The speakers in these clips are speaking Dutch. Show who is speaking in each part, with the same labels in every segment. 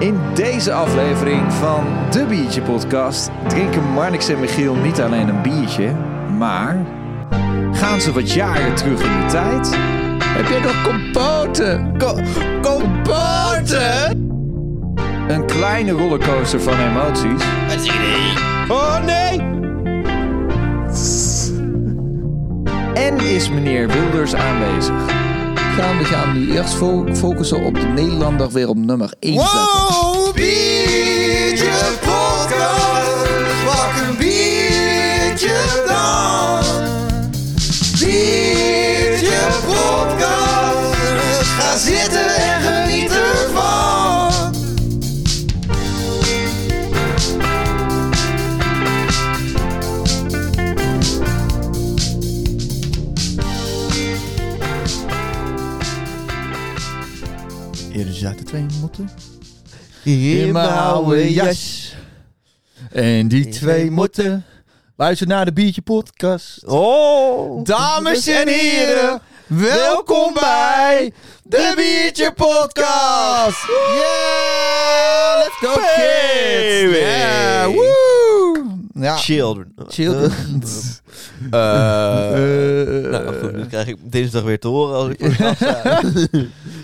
Speaker 1: In deze aflevering van de Biertje Podcast drinken Marnix en Michiel niet alleen een biertje, maar gaan ze wat jaren terug in de tijd? Heb jij nog compoten? Co- compoten? Een kleine rollercoaster van emoties. Oh nee! En is meneer Wilders aanwezig?
Speaker 2: gaan. We gaan nu eerst fo- focussen op de Nederlander weer op nummer 1
Speaker 1: Wow, biertje podcast. Pak een biertje dan. Biertje podcast. Ga zitten en geniet ervan.
Speaker 2: Hier zaten twee motten.
Speaker 3: In mijn oude jas.
Speaker 2: En die twee motten. Luister naar de Biertje Podcast.
Speaker 3: Oh!
Speaker 2: Dames en heren, welkom bij de Biertje Podcast. Yeah, let's go kids.
Speaker 3: baby.
Speaker 2: Yeah, woe. Ja,
Speaker 3: Children.
Speaker 2: children.
Speaker 3: Eh,
Speaker 2: Eh,
Speaker 3: nou, goed, dat krijg ik dinsdag weer te horen als ik voor de klas sta.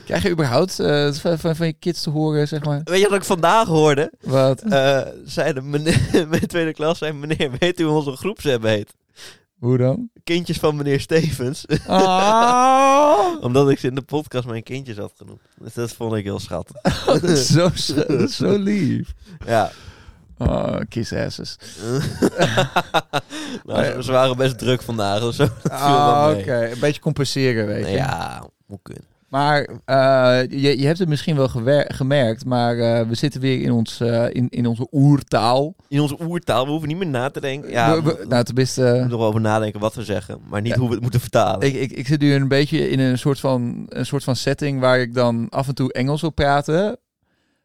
Speaker 2: Krijg je überhaupt eh, van, van, van je kids te horen, zeg maar?
Speaker 3: Weet je wat ik vandaag hoorde?
Speaker 2: Wat?
Speaker 3: Eh zeiden meneer, mijn tweede klas zei meneer, weet u hoe onze groepsapp heet?
Speaker 2: Hoe dan?
Speaker 3: Kindjes van meneer Stevens.
Speaker 2: Ah,
Speaker 3: Omdat ik ze in de podcast mijn kindjes had genoemd. Dus dat vond ik heel schattig.
Speaker 2: Oh, dat is zo, sch- dat is zo lief.
Speaker 3: Ja.
Speaker 2: Oh, kiss asses.
Speaker 3: Nou, ze- ze waren best druk vandaag. Dus zo, dat viel wel
Speaker 2: Ah,
Speaker 3: mee.
Speaker 2: oké. Een beetje compenseren, weet je.
Speaker 3: Ja, moet kunnen.
Speaker 2: Maar eh, je, je hebt het misschien wel gewer- gemerkt, maar eh, we zitten weer in, ons, eh, in, in onze oertaal.
Speaker 3: In onze oertaal, we hoeven niet meer na te denken. Ja,
Speaker 2: We-
Speaker 3: we,
Speaker 2: we- nou, tenminste,
Speaker 3: moeten
Speaker 2: eh,
Speaker 3: nog wel over nadenken wat we zeggen, maar niet
Speaker 2: Ja.
Speaker 3: hoe we het moeten vertalen.
Speaker 2: ik, ik, ik zit nu een beetje in een soort, van, een soort van setting waar ik dan af en toe Engels wil praten,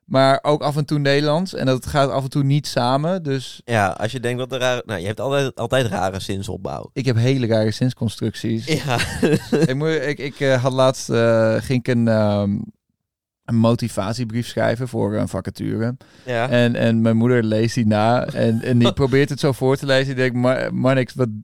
Speaker 2: maar ook af en toe Nederlands. En dat gaat af en toe niet samen, dus
Speaker 3: Ja, als je denkt wat er raar... Nou, je hebt altijd, altijd rare zinsopbouw.
Speaker 2: ik heb hele rare zinsconstructies.
Speaker 3: Ja.
Speaker 2: ik, moet, ik, ik eh, had laatst eh, ging ik een, ehm, een motivatiebrief schrijven voor een vacature.
Speaker 3: ja.
Speaker 2: En, en mijn moeder leest die na en, en die probeert het zo voor te lezen. Ik denk, maar Marnix, wat...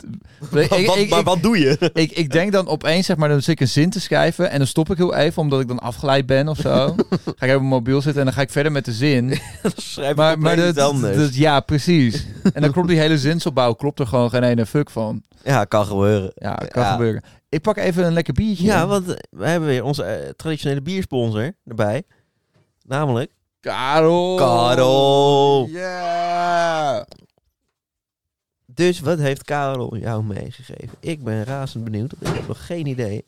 Speaker 3: Wat-
Speaker 2: ik,
Speaker 3: wat-
Speaker 2: ik,
Speaker 3: maar
Speaker 2: ik,
Speaker 3: wat doe je?
Speaker 2: ik, ik denk dan opeens, zeg maar, dan zit ik een zin te schrijven en dan stop ik heel even omdat ik dan afgeleid ben of zo. ga ik even op mijn mobiel zitten en dan ga ik verder met de zin.
Speaker 3: Schrijf
Speaker 2: Maar, maar
Speaker 3: dat,
Speaker 2: dat,
Speaker 3: anders.
Speaker 2: dat- ja, precies. En dan klopt die hele zinsopbouw, klopt er gewoon geen ene fuck van.
Speaker 3: ja, kan gebeuren.
Speaker 2: Ja, kan
Speaker 3: Ja.
Speaker 2: gebeuren. Ik pak even een lekker biertje.
Speaker 3: Ja, want eh, we hebben weer onze eh, traditionele biersponsor erbij. Namelijk...
Speaker 2: Karel.
Speaker 3: Oh. Karel!
Speaker 2: Ja.
Speaker 3: Dus wat heeft Karel jou meegegeven? Ik ben razend benieuwd. want Ik heb nog geen idee.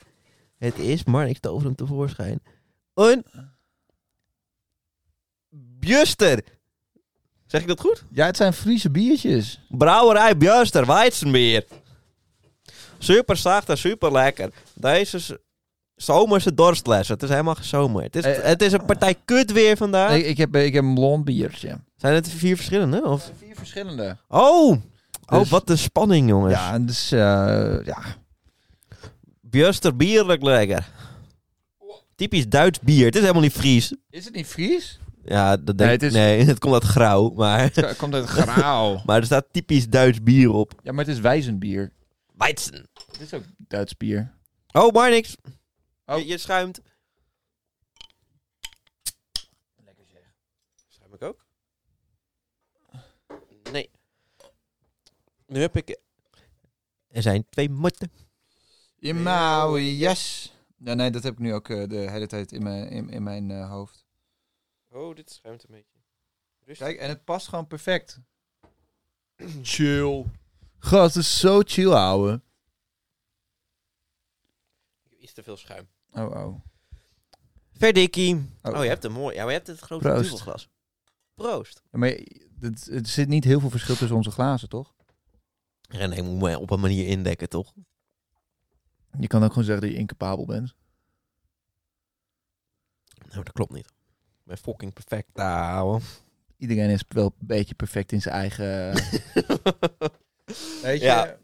Speaker 3: Het is, maar ik tover hem tevoorschijn. Een. Bjuster! Zeg ik dat goed?
Speaker 2: Ja, het zijn Friese biertjes.
Speaker 3: Brouwerij Bjuster, Weizenbier. Super zacht en super lekker. Deze is zomerse dorstles. Het is helemaal zomer. Het is,
Speaker 2: Eh,
Speaker 3: het is een partij kut weer vandaag.
Speaker 2: Ik, ik, heb, ik heb een blond biertje.
Speaker 3: Zijn het vier verschillende? Of?
Speaker 2: Vier verschillende.
Speaker 3: Oh! Oh,
Speaker 2: Dus-
Speaker 3: wat de spanning, jongens.
Speaker 2: Ja, en dus eh, ja.
Speaker 3: Bjuster bierlijk lekker. Typisch Duits bier. Het is helemaal niet Fries.
Speaker 2: Is het niet Fries?
Speaker 3: Ja, dat denk
Speaker 2: Nee,
Speaker 3: nee,
Speaker 2: het
Speaker 3: het
Speaker 2: is-
Speaker 3: nee, het komt uit grauw. Maar,
Speaker 2: Het komt uit grauw.
Speaker 3: maar er staat typisch Duits bier op.
Speaker 2: Ja, maar het is wijzenbier.
Speaker 3: Weizen.
Speaker 2: Het is ook Duits bier.
Speaker 3: Oh, maar niks.
Speaker 2: Oh.
Speaker 3: Je, je schuimt. Lekker zeg. Schuim ik ook? Nee. Nu heb ik... Er zijn twee motten.
Speaker 2: In Maui, yes. Ja, nee, dat heb ik nu ook eh, de hele tijd in mijn, in, in mijn eh, hoofd.
Speaker 3: Oh, dit schuimt een beetje.
Speaker 2: Kijk, en het past gewoon perfect. Chill. Gast, het is zo chill, ouwe.
Speaker 3: Iets te veel schuim.
Speaker 2: Oh, oh.
Speaker 3: Verdikkie.
Speaker 2: Oh.
Speaker 3: Oh. je hebt een mooi. Ja, maar je hebt het grote
Speaker 2: Proost.
Speaker 3: duvelglas. Proost.
Speaker 2: Ja, maar het, het zit niet heel veel verschil tussen onze glazen, toch?
Speaker 3: René moet mij op een manier indekken, toch?
Speaker 2: Je kan ook gewoon zeggen dat je incapabel bent.
Speaker 3: Nou, dat klopt niet. Ik ben fucking perfect, ouwe.
Speaker 2: Iedereen is wel een beetje perfect in zijn eigen... Weet je?
Speaker 3: Ja.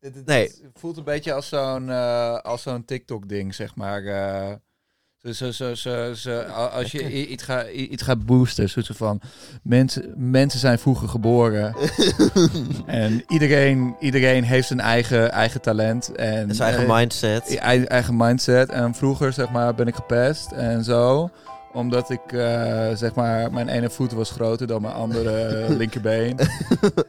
Speaker 2: Het, het-
Speaker 3: Nee.
Speaker 2: het voelt een beetje als zo'n eh, als zo'n TikTok-ding, zeg maar. eh, Dus zo, zo, zo, zo, a- als je i- iets gaat iets gaat boosten, zoiets van mensen, mensen zijn vroeger geboren en iedereen, iedereen heeft zijn eigen, eigen talent en
Speaker 3: Zijn eigen
Speaker 2: eh,
Speaker 3: mindset.
Speaker 2: e- ei- eigen mindset. En vroeger zeg maar ben ik gepest en zo, omdat ik eh, zeg maar mijn ene voet was groter dan mijn andere linkerbeen.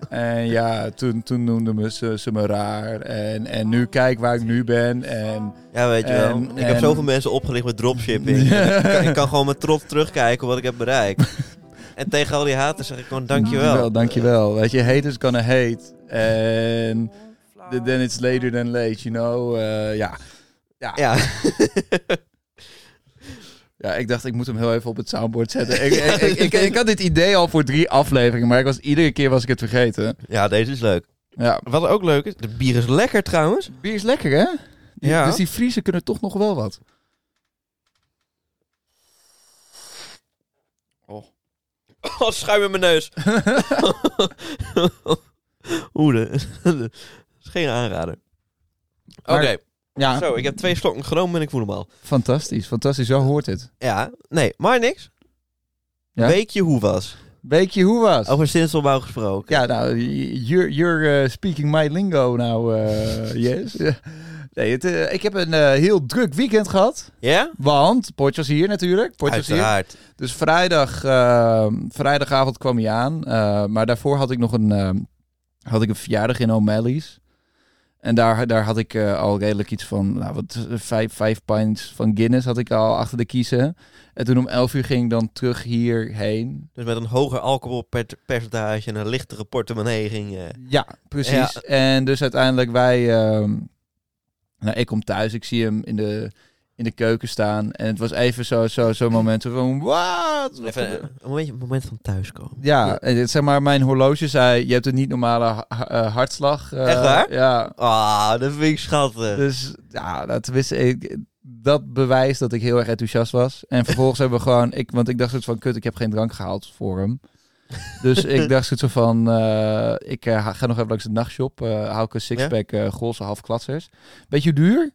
Speaker 2: En ja, toen, toen noemden me ze, ze me raar en, en nu kijk waar ik nu ben en
Speaker 3: Ja, weet je wel.
Speaker 2: En-
Speaker 3: ik heb
Speaker 2: en-
Speaker 3: zoveel mensen opgelicht met dropshipping. ik, kan, ik kan gewoon met trots terugkijken wat ik heb bereikt. en tegen al die haters zeg ik gewoon dankjewel.
Speaker 2: Dankjewel, Weet je, haters gonna hate. En th- then it's later than late, you know. Eh, ja.
Speaker 3: Ja,
Speaker 2: ja, ik dacht ik moet hem heel even op het soundboard zetten. Ik,
Speaker 3: Ja,
Speaker 2: ik, ik, ik, ik had dit idee al voor drie afleveringen, maar ik was, iedere keer was ik het vergeten.
Speaker 3: ja deze is leuk.
Speaker 2: Ja.
Speaker 3: Wat ook leuk is, de bier is lekker trouwens.
Speaker 2: Bier is lekker, hè? Die-
Speaker 3: Ja.
Speaker 2: Dus die Friesen kunnen toch nog wel wat.
Speaker 3: Oh, schuim in mijn neus. Oeh, dat is geen aanrader. Oké,
Speaker 2: Maar- ja,
Speaker 3: zo, ik heb twee slokken genomen en ik voel hem al.
Speaker 2: fantastisch. Fantastisch, zo hoort het.
Speaker 3: Ja, nee, maar niks.
Speaker 2: Ja?
Speaker 3: Weet je hoe was?
Speaker 2: Weekje, hoe was?
Speaker 3: Over Sinselbouw gesproken.
Speaker 2: Ja, nou, y- you're, you're eh, speaking my lingo nou, eh, yes. Nee, het, eh, ik heb een eh, heel druk weekend gehad.
Speaker 3: Ja?
Speaker 2: Want Potje was hier natuurlijk. Potje was hier.
Speaker 3: Uiteraard.
Speaker 2: Dus vrijdag, eh, vrijdagavond kwam hij aan. Eh, maar daarvoor had ik nog een, eh, had ik een verjaardag in O'Malley's. En daar, daar had ik eh, al redelijk iets van, nou, wat, eh, vijf, vijf pints van Guinness had ik al achter de kiezen. En toen om elf uur ging ik dan terug hierheen.
Speaker 3: Dus met een hoger alcoholpercentage en een lichtere portemonnee ging eh, je.
Speaker 2: Ja, precies. En dus uiteindelijk wij... ehm, nou, ik kom thuis, ik zie hem in de, in de keuken staan. En het was even zo'n zo, zo moment zo van, wat? Wat
Speaker 3: Even een, een moment, een moment van thuiskomen.
Speaker 2: Ja, en dit- zeg maar, mijn horloge zei, je hebt een niet normale ha- ha- eh, hartslag. eh,
Speaker 3: Echt waar?
Speaker 2: Ja.
Speaker 3: Ah, dat vind ik schattig.
Speaker 2: Dus ja, dat wist ik. Dat bewijst dat ik heel erg enthousiast was. En vervolgens hebben we gewoon, ik, want ik dacht zoiets van, kut, ik heb geen drank gehaald voor hem. Dus ik dacht zoiets van, eh, ik eh, ga nog even langs de nachtshop. eh hou ik een sixpack eh Golse halfklatsers. Beetje duur?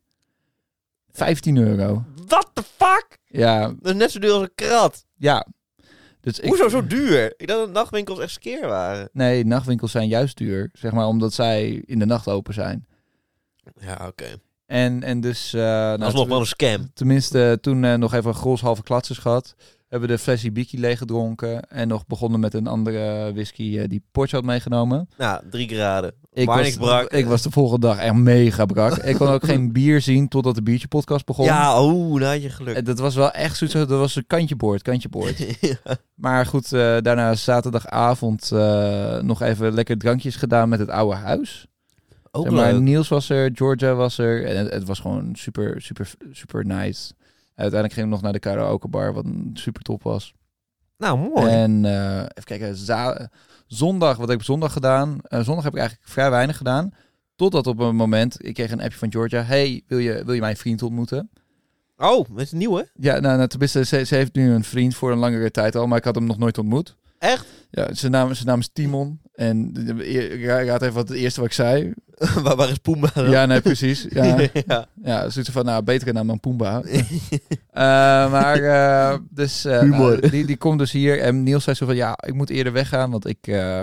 Speaker 2: 15 euro.
Speaker 3: What the fuck?
Speaker 2: Ja,
Speaker 3: Dat is net zo duur als een krat.
Speaker 2: ja. Dus ik,
Speaker 3: Hoezo zo duur? Ik dacht dat nachtwinkels echt skeer waren.
Speaker 2: Nee, nachtwinkels zijn juist duur. Zeg maar, omdat zij in de nacht open zijn.
Speaker 3: Ja, oké.
Speaker 2: En, en dus... eh nou,
Speaker 3: Dat is nog
Speaker 2: toen-
Speaker 3: wel een scam.
Speaker 2: Tenminste, eh, toen eh, nog even een gros halve klatsers gehad. Hebben de flesje biki leeggedronken. En nog begonnen met een andere whisky eh, die Porsche had meegenomen.
Speaker 3: Nou, drie graden.
Speaker 2: Ik
Speaker 3: Waar
Speaker 2: was,
Speaker 3: niks brak.
Speaker 2: Ik was de volgende dag echt mega brak. ik kon ook geen bier zien totdat de biertje podcast begon.
Speaker 3: Ja, oeh, daar had je geluk.
Speaker 2: En dat was wel echt zoiets, dat was een kantje boord, kantje boord. Maar goed, eh, daarna zaterdagavond eh, nog even lekker drankjes gedaan met het oude huis.
Speaker 3: Ook
Speaker 2: Zeg maar
Speaker 3: leuk.
Speaker 2: Niels was er, Georgia was er. En het, het was gewoon super, super, super nice. Uiteindelijk gingen we nog naar de karaoke bar, wat een super top was.
Speaker 3: Nou, mooi.
Speaker 2: En eh, even kijken, za- zondag, wat heb ik zondag gedaan? Eh, zondag heb ik eigenlijk vrij weinig gedaan. Totdat op een moment, ik kreeg een appje van Georgia. Hey, wil je, wil je mijn vriend ontmoeten?
Speaker 3: Oh, dat is nieuw, hè?
Speaker 2: Ja, nou, nou tenminste, ze, ze heeft nu een vriend voor een langere tijd al, maar ik had hem nog nooit ontmoet.
Speaker 3: Echt?
Speaker 2: Ja, zijn naam, zijn naam is Timon. En eh, ik raad even wat het eerste wat ik zei.
Speaker 3: waar, waar is Pumba dan?
Speaker 2: Ja, nee, precies. Ja.
Speaker 3: ja.
Speaker 2: Ja, zoiets van, nou, betere naam dan Pumba. Eh, maar, eh, dus... eh,
Speaker 3: Humor.
Speaker 2: nou, die, die komt dus hier en Niels zei zo van, ja, ik moet eerder weggaan, want ik, eh,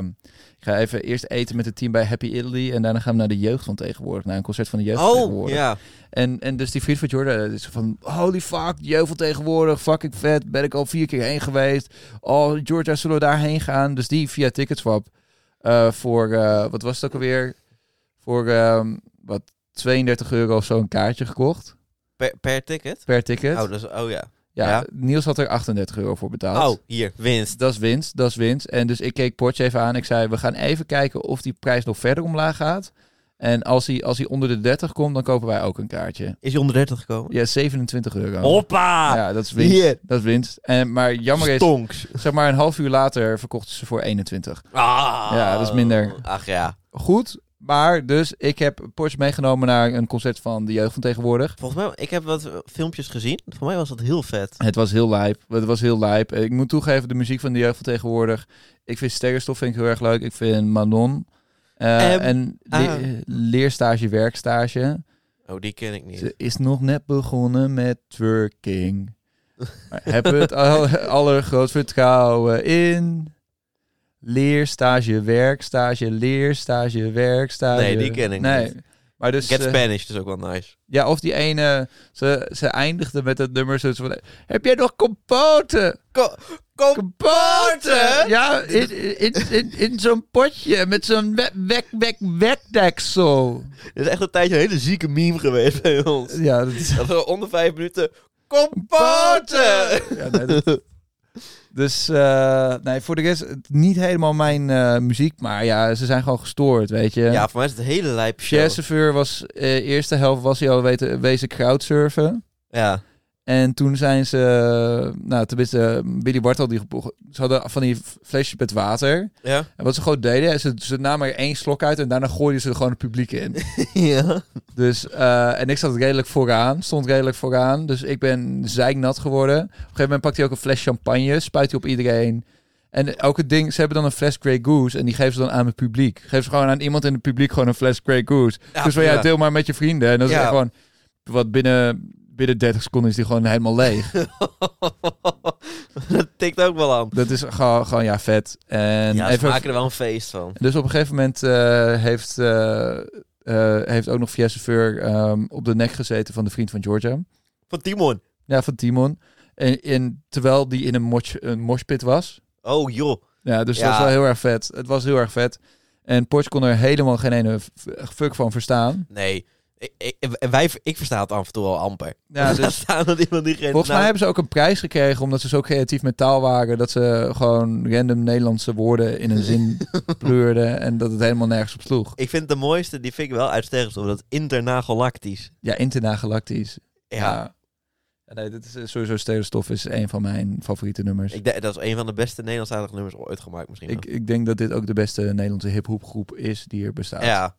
Speaker 2: ik ga even eerst eten met het team bij Happy Italy en daarna gaan we naar de jeugd van tegenwoordig, naar een concert van de jeugd van
Speaker 3: Oh,
Speaker 2: tegenwoordig.
Speaker 3: ja.
Speaker 2: En, en dus die vriend van Jordan is zo van, holy fuck, jeugd van tegenwoordig, fucking vet, ben ik al vier keer heen geweest. Oh, Georgia, zullen we daarheen gaan? Dus die via Ticketswap eh, voor, eh, wat was het ook alweer? Voor, ehm, wat, 32 euro of zo een kaartje gekocht
Speaker 3: Per, per ticket?
Speaker 2: per ticket.
Speaker 3: Oh, dat is, oh ja.
Speaker 2: ja,
Speaker 3: ja.
Speaker 2: Niels had er 38 euro voor betaald.
Speaker 3: Oh, hier, winst.
Speaker 2: Dat is winst, dat is winst. En dus ik keek Porsche even aan. Ik zei, we gaan even kijken of die prijs nog verder omlaag gaat. En als hij, als hij onder de 30 komt, dan kopen wij ook een kaartje.
Speaker 3: Is hij onder 30 gekomen?
Speaker 2: Ja, 27 euro.
Speaker 3: Hoppa!
Speaker 2: Ja, dat is winst.
Speaker 3: Hier.
Speaker 2: Dat is winst. En, maar jammer is,
Speaker 3: Stonks.
Speaker 2: zeg maar een half uur later verkochten ze voor 21.
Speaker 3: Ah.
Speaker 2: Ja, dat is minder.
Speaker 3: Ach ja.
Speaker 2: Goed, maar dus ik heb Porsche meegenomen naar een concert van de jeugd van tegenwoordig.
Speaker 3: Volgens mij, ik heb wat eh, filmpjes gezien. Voor mij was dat heel vet.
Speaker 2: Het was heel lijp. Het was heel lijp. Ik moet toegeven, de muziek van de jeugd van tegenwoordig. Ik vind Sterrenstof vind ik heel erg leuk. Ik vind Manon. eh,
Speaker 3: Ehm,
Speaker 2: en le-
Speaker 3: ah.
Speaker 2: leerstage, werkstage.
Speaker 3: Oh, die ken ik niet.
Speaker 2: Ze is nog net begonnen met twerking. Maar hebben we het al- allergrootst vertrouwen in? Leer, stage, werk, stage, leer, stage, werk, stage.
Speaker 3: Nee, die ken ik
Speaker 2: nee.
Speaker 3: niet.
Speaker 2: Maar dus,
Speaker 3: Get
Speaker 2: eh,
Speaker 3: Spanish is ook wel nice.
Speaker 2: ja, of die ene, ze, ze eindigde met het nummer zoiets van, heb jij nog compoten?
Speaker 3: Ko- ko-
Speaker 2: Compoten? Ja, in, in, in, in zo'n potje met zo'n wek, wek, wek, wekdeksel.
Speaker 3: Dit is echt een tijdje een hele zieke meme geweest bij ons.
Speaker 2: Ja, dat is...
Speaker 3: Dat we onder vijf minuten... Compoten!
Speaker 2: Ja, nee, dat- Dus eh, nee, voor de rest het niet helemaal mijn eh, muziek, maar ja, ze zijn gewoon gestoord, weet je.
Speaker 3: Ja, voor mij is het een hele lijp show.
Speaker 2: Chauffeur was eh, eerste helft was hij al weten, wezen crowdsurfen.
Speaker 3: Ja.
Speaker 2: En toen zijn ze, eh, nou tenminste, eh, Billy Bart had die gebo- Ze hadden van die f- flesjes met water.
Speaker 3: Ja.
Speaker 2: En wat ze gewoon deden, ze, ze namen er één slok uit en daarna gooiden ze er gewoon het publiek in.
Speaker 3: ja.
Speaker 2: Dus, eh, en ik zat redelijk vooraan, stond redelijk vooraan. Dus ik ben zeiknat geworden. Op een gegeven moment pakt hij ook een fles champagne, spuit hij op iedereen. En elke ding, ze hebben dan een fles Grey Goose en die geven ze dan aan het publiek. Geven ze gewoon aan iemand in het publiek gewoon een fles Grey Goose.
Speaker 3: Ja,
Speaker 2: dus van ja,
Speaker 3: ja.
Speaker 2: deel maar met je vrienden. En dan is
Speaker 3: Ja.
Speaker 2: het gewoon, wat binnen, binnen 30 seconden is die gewoon helemaal leeg.
Speaker 3: dat tikt ook wel aan.
Speaker 2: Dat is gewoon, gewoon ja, vet. En
Speaker 3: ja, ze
Speaker 2: even,
Speaker 3: maken er wel een feest van.
Speaker 2: Dus op een gegeven moment eh, heeft, eh, eh, heeft ook nog Via Chauffeur ehm, op de nek gezeten van de vriend van Georgia.
Speaker 3: Van Timon.
Speaker 2: Ja, van Timon. En, en terwijl die in een, mosh, een moshpit was.
Speaker 3: Oh joh.
Speaker 2: Ja, dus dat
Speaker 3: Ja.
Speaker 2: was wel heel erg vet. Het was heel erg vet. En Porsche kon er helemaal geen ene f- fuck van verstaan.
Speaker 3: Nee. Ik, ik, en wij, ik versta het af en toe al amper.
Speaker 2: Ja,
Speaker 3: Daar
Speaker 2: dus
Speaker 3: staan dat iemand die geen...
Speaker 2: volgens mij
Speaker 3: nou,
Speaker 2: hebben ze ook een prijs gekregen omdat ze zo creatief met taal waren. Dat ze gewoon random Nederlandse woorden in een zin pleurden. En dat het helemaal nergens op sloeg.
Speaker 3: Ik vind de mooiste, die vind ik wel uitstekend, omdat internagalactisch.
Speaker 2: Ja, internagalactisch.
Speaker 3: Ja.
Speaker 2: Ja, Nee, dit is eh, sowieso Stelenstof is een van mijn favoriete nummers.
Speaker 3: Ik denk, dat is een van de beste Nederlandstalige nummers ooit gemaakt misschien.
Speaker 2: Ik, ik denk dat dit ook de beste Nederlandse hip-hop groep is die er bestaat.
Speaker 3: wel. ja.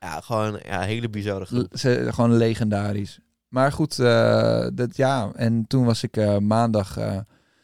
Speaker 3: Ja, gewoon ja, hele bizarre groep.
Speaker 2: L- ze, gewoon legendarisch. Maar goed, eh, dat, ja. En toen was ik eh, maandag, eh,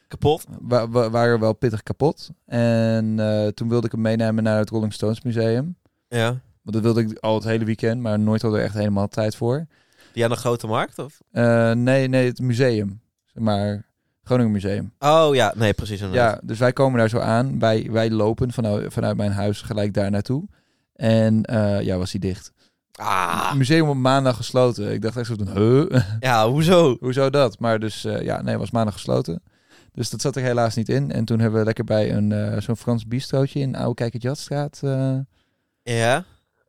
Speaker 3: Kapot.
Speaker 2: wa- wa- waren we wel pittig kapot. En eh, toen wilde ik hem meenemen naar het Rolling Stones Museum.
Speaker 3: Ja.
Speaker 2: Want dat wilde ik al het hele weekend, maar nooit had er echt helemaal tijd voor.
Speaker 3: Die aan de Grote Markt, of?
Speaker 2: Eh, nee, nee, het museum. Zeg maar, Groningen Museum.
Speaker 3: Oh ja, nee, precies. inderdaad.
Speaker 2: Ja, dus wij komen daar zo aan. Wij, wij lopen vanuit, vanuit mijn huis gelijk daar naartoe. En eh, ja, was hij dicht.
Speaker 3: Ah,
Speaker 2: Museum op maandag gesloten. Ik dacht echt zo van, huh?
Speaker 3: ja, hoezo?
Speaker 2: Hoezo dat? Maar dus, eh, ja, nee, was maandag gesloten. Dus dat zat er helaas niet in. En toen hebben we lekker bij een eh, zo'n Frans bistrootje in Oude Kijkertjatstraat. eh
Speaker 3: Ja.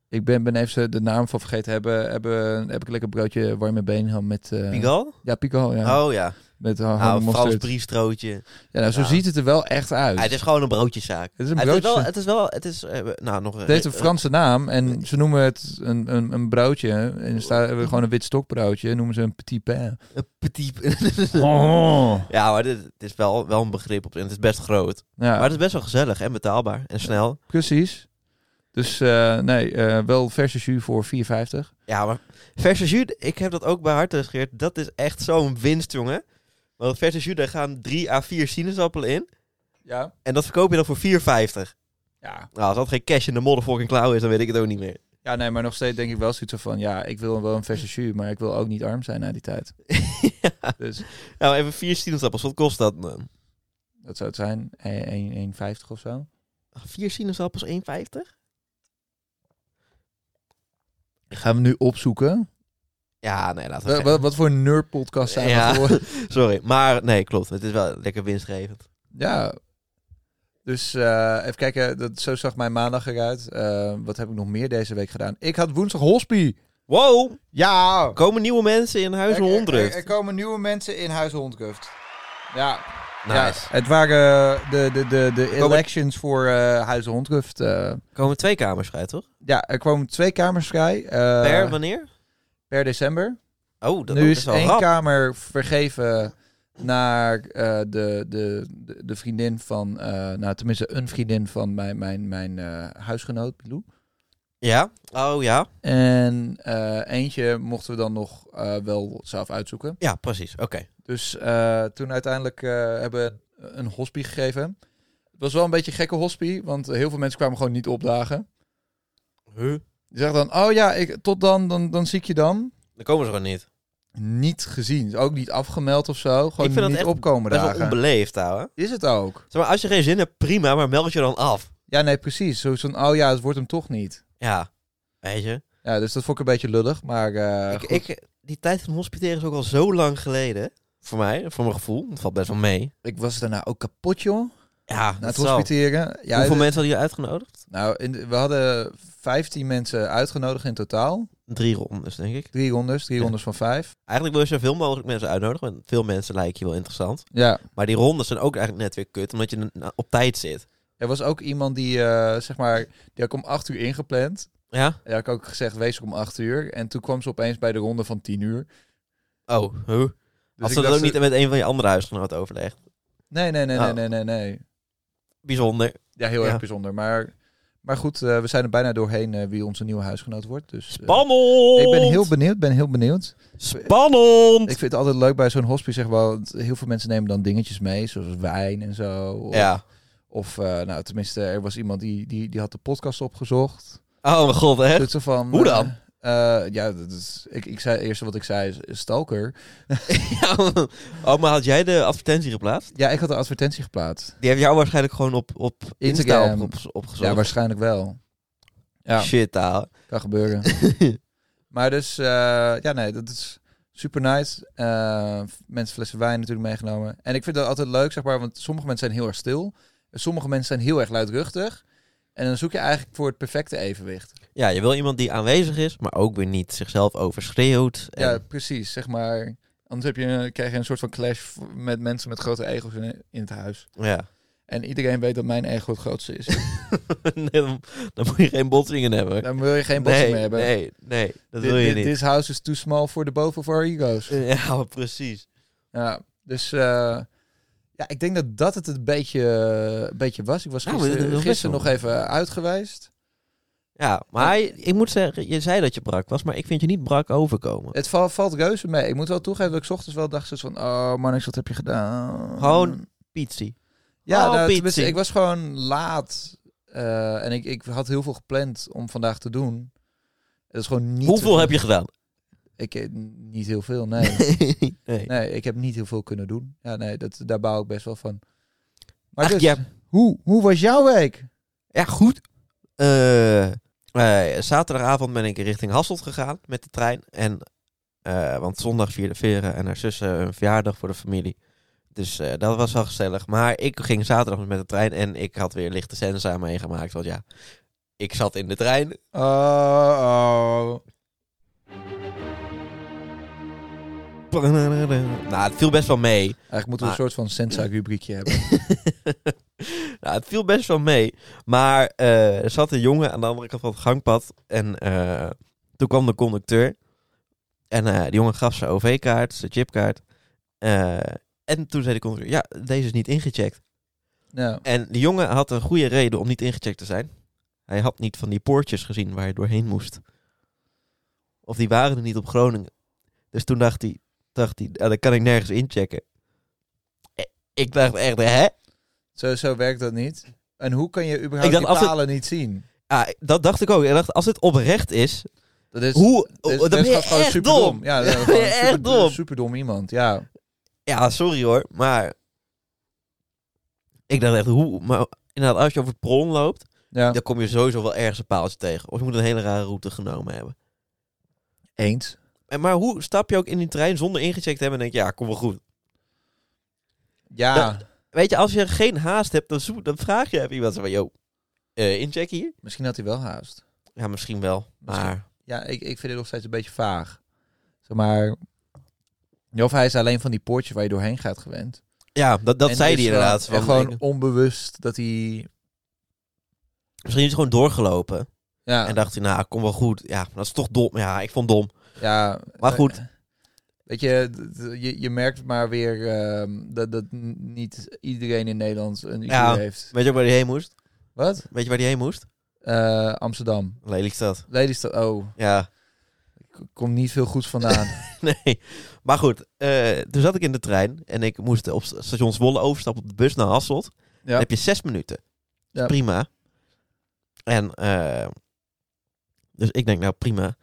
Speaker 2: ik ben, ben even zo de naam van vergeten hebben. hebben heb ik lekker broodje warme beenham met... eh,
Speaker 3: Pigal?
Speaker 2: Ja, Pico, ja.
Speaker 3: Oh ja.
Speaker 2: Met uh,
Speaker 3: Nou, Frans
Speaker 2: mosterd.
Speaker 3: briefstrootje.
Speaker 2: Ja, nou, zo
Speaker 3: Ja.
Speaker 2: ziet het er wel echt uit.
Speaker 3: Ah, het is gewoon een broodjeszaak. Ah,
Speaker 2: Het is een
Speaker 3: het is
Speaker 2: broodje.
Speaker 3: wel, het is wel, het is, eh, nou nog
Speaker 2: Het heeft een Franse naam en ze noemen het een, een, een broodje. En staan hebben we gewoon een wit stokbroodje. Noemen ze een petit pain.
Speaker 3: een petit. ja, maar dit, het is wel, wel een begrip op en het is best groot.
Speaker 2: Ja,
Speaker 3: Maar het is best wel gezellig en betaalbaar en snel.
Speaker 2: precies. Dus eh, nee, eh, wel verse jus voor 4,50.
Speaker 3: Ja, maar verse jus, ik heb dat ook bij harte gescheerd. Dat is echt zo'n winst, jongen. Want verse jus, daar gaan 3 à 4 sinaasappelen in.
Speaker 2: Ja.
Speaker 3: En dat verkoop je dan voor 4,50.
Speaker 2: ja.
Speaker 3: Nou, als dat geen cash in de motherfucking klauw is, dan weet ik het ook niet meer.
Speaker 2: Ja, nee, maar nog steeds denk ik wel zoiets van... Ja, ik wil wel een verse jus, maar ik wil ook niet arm zijn na die tijd.
Speaker 3: ja.
Speaker 2: Dus
Speaker 3: Nou, even 4 sinaasappels, wat kost dat? dan?
Speaker 2: dat zou het zijn. 1,50 of zo.
Speaker 3: Vier sinaasappels 1,50?
Speaker 2: Ik ga hem nu opzoeken.
Speaker 3: Ja, nee, laten we
Speaker 2: Wa- wa- Wat, voor nerd podcast zijn we
Speaker 3: Ja.
Speaker 2: geworden?
Speaker 3: Sorry, maar nee, klopt. Het is wel lekker winstgevend.
Speaker 2: Ja. Dus eh, even kijken, dat, zo zag mijn maandag eruit. Eh, wat heb ik nog meer deze week gedaan? Ik had woensdag hospie.
Speaker 3: Wow,
Speaker 2: Ja.
Speaker 3: komen nieuwe mensen in huis
Speaker 2: Er- er-
Speaker 3: honderd.
Speaker 2: Er, er komen nieuwe mensen in huis hondruft. Ja.
Speaker 3: Nice.
Speaker 2: ja. Het waren de, de, de, de
Speaker 3: Komen-
Speaker 2: elections voor eh huis hondruft. eh.
Speaker 3: Komen twee kamers vrij, toch?
Speaker 2: ja, er kwamen twee kamers vrij. eh,
Speaker 3: per wanneer?
Speaker 2: per december.
Speaker 3: Oh, dat
Speaker 2: nu
Speaker 3: is
Speaker 2: is
Speaker 3: wel
Speaker 2: één
Speaker 3: rap.
Speaker 2: kamer vergeven naar eh, de, de, de, de vriendin van, eh, nou tenminste een vriendin van mijn, mijn, mijn eh, huisgenoot, Pilou.
Speaker 3: Ja, oh ja.
Speaker 2: En eh, eentje mochten we dan nog eh, wel zelf uitzoeken.
Speaker 3: Ja, precies. Oké.
Speaker 2: Dus eh, toen uiteindelijk eh, hebben we een hospie gegeven. Het was wel een beetje een gekke hospie, want heel veel mensen kwamen gewoon niet opdagen.
Speaker 3: Huh?
Speaker 2: Die zeggen dan, oh ja, ik, tot dan, dan, dan zie ik je dan.
Speaker 3: Dan komen ze gewoon niet.
Speaker 2: niet gezien. Is Ook niet afgemeld of zo. Gewoon
Speaker 3: Ik vind dat
Speaker 2: niet
Speaker 3: echt
Speaker 2: opkomen
Speaker 3: Best wel
Speaker 2: dagen.
Speaker 3: onbeleefd, ouwe.
Speaker 2: Is het ook?
Speaker 3: Zeg maar, als je geen zin hebt, prima, maar meld je dan af.
Speaker 2: Ja, nee, precies. Zo zo'n, oh ja, het wordt hem toch niet.
Speaker 3: Ja, weet je.
Speaker 2: Ja, dus dat vond ik een beetje lullig, maar... eh,
Speaker 3: ik,
Speaker 2: goed.
Speaker 3: ik, die tijd van hospiteren is ook al zo lang geleden. Voor mij, voor mijn gevoel. Het valt best wel mee.
Speaker 2: Ik was daarna ook kapot, joh.
Speaker 3: Ja,
Speaker 2: Na
Speaker 3: dat
Speaker 2: Nou, het
Speaker 3: zal.
Speaker 2: hospiteren. Ja,
Speaker 3: Hoeveel
Speaker 2: dit-
Speaker 3: mensen hadden jullie uitgenodigd?
Speaker 2: Nou, in de- we hadden 15 mensen uitgenodigd in totaal.
Speaker 3: Drie rondes, denk ik.
Speaker 2: Drie rondes, drie
Speaker 3: Ja.
Speaker 2: rondes van vijf.
Speaker 3: Eigenlijk wil je zoveel mogelijk mensen uitnodigen. Want veel mensen lijken je wel interessant.
Speaker 2: Ja.
Speaker 3: Maar die rondes zijn ook eigenlijk net weer kut, omdat je na- op tijd zit.
Speaker 2: Er was ook iemand die, eh, zeg maar, die had ik om acht uur ingepland.
Speaker 3: Ja?
Speaker 2: Ja, ik had ook gezegd, wees er om acht uur. En toen kwam ze opeens bij de ronde van tien uur. Dus
Speaker 3: Oh, huh? Als
Speaker 2: ik
Speaker 3: ze dat
Speaker 2: dacht,
Speaker 3: ook niet met een van je andere huisgenoten overlegt.
Speaker 2: Nee, nee, nee,
Speaker 3: Oh.
Speaker 2: nee, nee, nee, nee.
Speaker 3: Bijzonder.
Speaker 2: Ja, heel
Speaker 3: Ja.
Speaker 2: erg bijzonder. Maar, maar goed, eh, we zijn er bijna doorheen eh, wie onze nieuwe huisgenoot wordt. Dus, eh,
Speaker 3: Spannend!
Speaker 2: ik ben heel benieuwd, ben heel benieuwd.
Speaker 3: Spannend!
Speaker 2: Ik vind het altijd leuk bij zo'n hospice, zeg maar, want heel veel mensen nemen dan dingetjes mee, zoals wijn en zo. Of,
Speaker 3: Ja.
Speaker 2: of eh, nou, tenminste, er was iemand die, die, die had de podcast opgezocht.
Speaker 3: Oh mijn god, hè?
Speaker 2: Dus zo van,
Speaker 3: Hoe dan?
Speaker 2: eh, eh, ja, dat is, ik, ik zei eerst wat ik zei, is- is stalker.
Speaker 3: Ja, man. oh, maar had jij de advertentie geplaatst?
Speaker 2: Ja, ik had een advertentie geplaatst.
Speaker 3: Die heeft jou waarschijnlijk gewoon op, op Insta
Speaker 2: Instagram.
Speaker 3: op, op, opgezocht.
Speaker 2: Ja, waarschijnlijk wel. Ja,
Speaker 3: Shit, ouwe.
Speaker 2: kan gebeuren. Maar dus, eh, ja, nee, dat is super nice. Eh, mensen flessen wijn natuurlijk meegenomen. En ik vind dat altijd leuk, zeg maar, want sommige mensen zijn heel erg stil. En sommige mensen zijn heel erg luidruchtig. En dan zoek je eigenlijk voor het perfecte evenwicht.
Speaker 3: ja, je wil iemand die aanwezig is, maar ook weer niet zichzelf overschreeuwt. En,
Speaker 2: Ja, precies, zeg maar. Anders heb je, eh, krijg je een soort van clash v- met mensen met grote ego's in, in het huis.
Speaker 3: ja.
Speaker 2: En iedereen weet dat mijn ego het grootste is.
Speaker 3: Nee, dan, dan moet je geen botsingen hebben.
Speaker 2: Daar wil je geen botsing
Speaker 3: nee,
Speaker 2: mee hebben.
Speaker 3: Nee, nee, dat
Speaker 2: Thi-
Speaker 3: wil je
Speaker 2: thi-
Speaker 3: niet.
Speaker 2: This house is too small for the both of our egos.
Speaker 3: Ja, precies.
Speaker 2: Ja, dus eh, ja, ik denk dat dat het een beetje, een beetje was. Ik was
Speaker 3: Nou,
Speaker 2: gisteren,
Speaker 3: dat is wel best
Speaker 2: gisteren nog
Speaker 3: wel.
Speaker 2: even uit geweest.
Speaker 3: Ja, maar je- ik moet zeggen, je zei dat je brak was, maar ik vind je niet brak overkomen.
Speaker 2: Het val- valt reuze mee. Ik moet wel toegeven dat ik 's ochtends wel dacht zoiets van... Oh man, wat heb je gedaan?
Speaker 3: Gewoon- Pietsie.
Speaker 2: Ja,
Speaker 3: oh,
Speaker 2: nou,
Speaker 3: Piet,
Speaker 2: tenminste,
Speaker 3: zie.
Speaker 2: ik was gewoon laat. eh, en ik, ik had heel veel gepland om vandaag te doen. Het is gewoon niet...
Speaker 3: Hoeveel heb je gedaan?
Speaker 2: Ik, eh, niet heel veel, nee.
Speaker 3: nee.
Speaker 2: nee, ik heb niet heel veel kunnen doen. Ja, nee, dat, daar bouw ik best wel van. Maar
Speaker 3: Ach,
Speaker 2: dus,
Speaker 3: ja.
Speaker 2: hoe, hoe was jouw week?
Speaker 3: Ja, goed. Eh, eh, zaterdagavond ben ik richting Hasselt gegaan met de trein. En, eh, want zondag vierde Veren en haar zus eh, een verjaardag voor de familie. Dus eh, dat was wel gezellig. Maar ik ging zaterdag met de trein en ik had weer lichte sensa meegemaakt. Want ja, ik zat in de trein.
Speaker 2: Oh,
Speaker 3: Nou, het viel best wel mee.
Speaker 2: Eigenlijk moeten we
Speaker 3: Maar-
Speaker 2: een soort van Sensa-rubriekje hebben.
Speaker 3: nou, het viel best wel mee. Maar eh, er zat een jongen aan de andere kant van het gangpad. En eh, toen kwam de conducteur. En eh, die jongen gaf zijn OV-kaart, zijn chipkaart. Eh, en toen zei de conducteur, ja, deze is niet ingecheckt.
Speaker 2: Nou,
Speaker 3: En die jongen had een goede reden om niet ingecheckt te zijn. Hij had niet van die poortjes gezien waar je doorheen moest. Of die waren er niet op Groningen. Dus toen dacht hij, dacht hij ah, dat kan ik nergens inchecken. Eh, Ik dacht echt, hè?
Speaker 2: zo, zo werkt dat niet. En hoe kan je überhaupt
Speaker 3: Ik dacht,
Speaker 2: die
Speaker 3: als het-
Speaker 2: palen niet zien?
Speaker 3: Ja, Ah, dat dacht ik ook. Ik dacht, als dit oprecht is,
Speaker 2: Dat is,
Speaker 3: hoe...
Speaker 2: dat is-
Speaker 3: oh,
Speaker 2: dat
Speaker 3: dan
Speaker 2: is
Speaker 3: ben je
Speaker 2: dus gewoon
Speaker 3: echt
Speaker 2: superdom.
Speaker 3: dom.
Speaker 2: Ja,
Speaker 3: Dan
Speaker 2: dat is
Speaker 3: ben je
Speaker 2: gewoon
Speaker 3: echt
Speaker 2: super-
Speaker 3: dom.
Speaker 2: superdom iemand, ja.
Speaker 3: Ja, sorry hoor, maar... Ik dacht echt, hoe... Maar inderdaad, als je over het prong loopt,
Speaker 2: ja.
Speaker 3: dan kom je sowieso wel ergens een paaltje tegen. Of je moet een hele rare route genomen hebben.
Speaker 2: Eens.
Speaker 3: En, maar hoe stap je ook in die trein zonder ingecheckt te hebben en denk je, ja, kom wel goed.
Speaker 2: Ja,
Speaker 3: Weet je, als je geen haast hebt, dan, zoek, dan vraag je even iemand zo van, yo, eh, incheck hier?
Speaker 2: misschien had hij wel haast.
Speaker 3: Ja, misschien wel,
Speaker 2: Misschien.
Speaker 3: maar...
Speaker 2: Ja, ik, ik vind het nog steeds een beetje vaag. Zeg maar... Of hij is alleen van die poortjes waar je doorheen gaat gewend.
Speaker 3: Ja, dat, dat
Speaker 2: En
Speaker 3: zei
Speaker 2: is
Speaker 3: hij inderdaad.
Speaker 2: Gewoon, en
Speaker 3: van,
Speaker 2: gewoon onbewust dat hij...
Speaker 3: Misschien is hij gewoon doorgelopen.
Speaker 2: Ja,
Speaker 3: En dacht hij, nou, kom wel goed. Ja, dat is toch dom. Ja, ik vond dom.
Speaker 2: ja,
Speaker 3: Maar
Speaker 2: eh,
Speaker 3: goed.
Speaker 2: Weet je, d- d- je, je merkt maar weer ehm, dat, dat n- niet iedereen in Nederland een IQ
Speaker 3: Ja.
Speaker 2: heeft.
Speaker 3: Weet je ook waar hij heen moest?
Speaker 2: Wat?
Speaker 3: Weet je waar die heen moest?
Speaker 2: Eh, Amsterdam.
Speaker 3: Lelystad.
Speaker 2: Lelystad, oh,
Speaker 3: Ja,
Speaker 2: k- komt niet veel goeds vandaan.
Speaker 3: nee. Maar goed, eh, toen zat ik in de trein en ik moest op st- station Zwolle overstappen op de bus naar Hasselt. Dan
Speaker 2: ja.
Speaker 3: heb je zes minuten. Dat is
Speaker 2: Ja.
Speaker 3: Prima. En eh, dus ik denk, nou prima.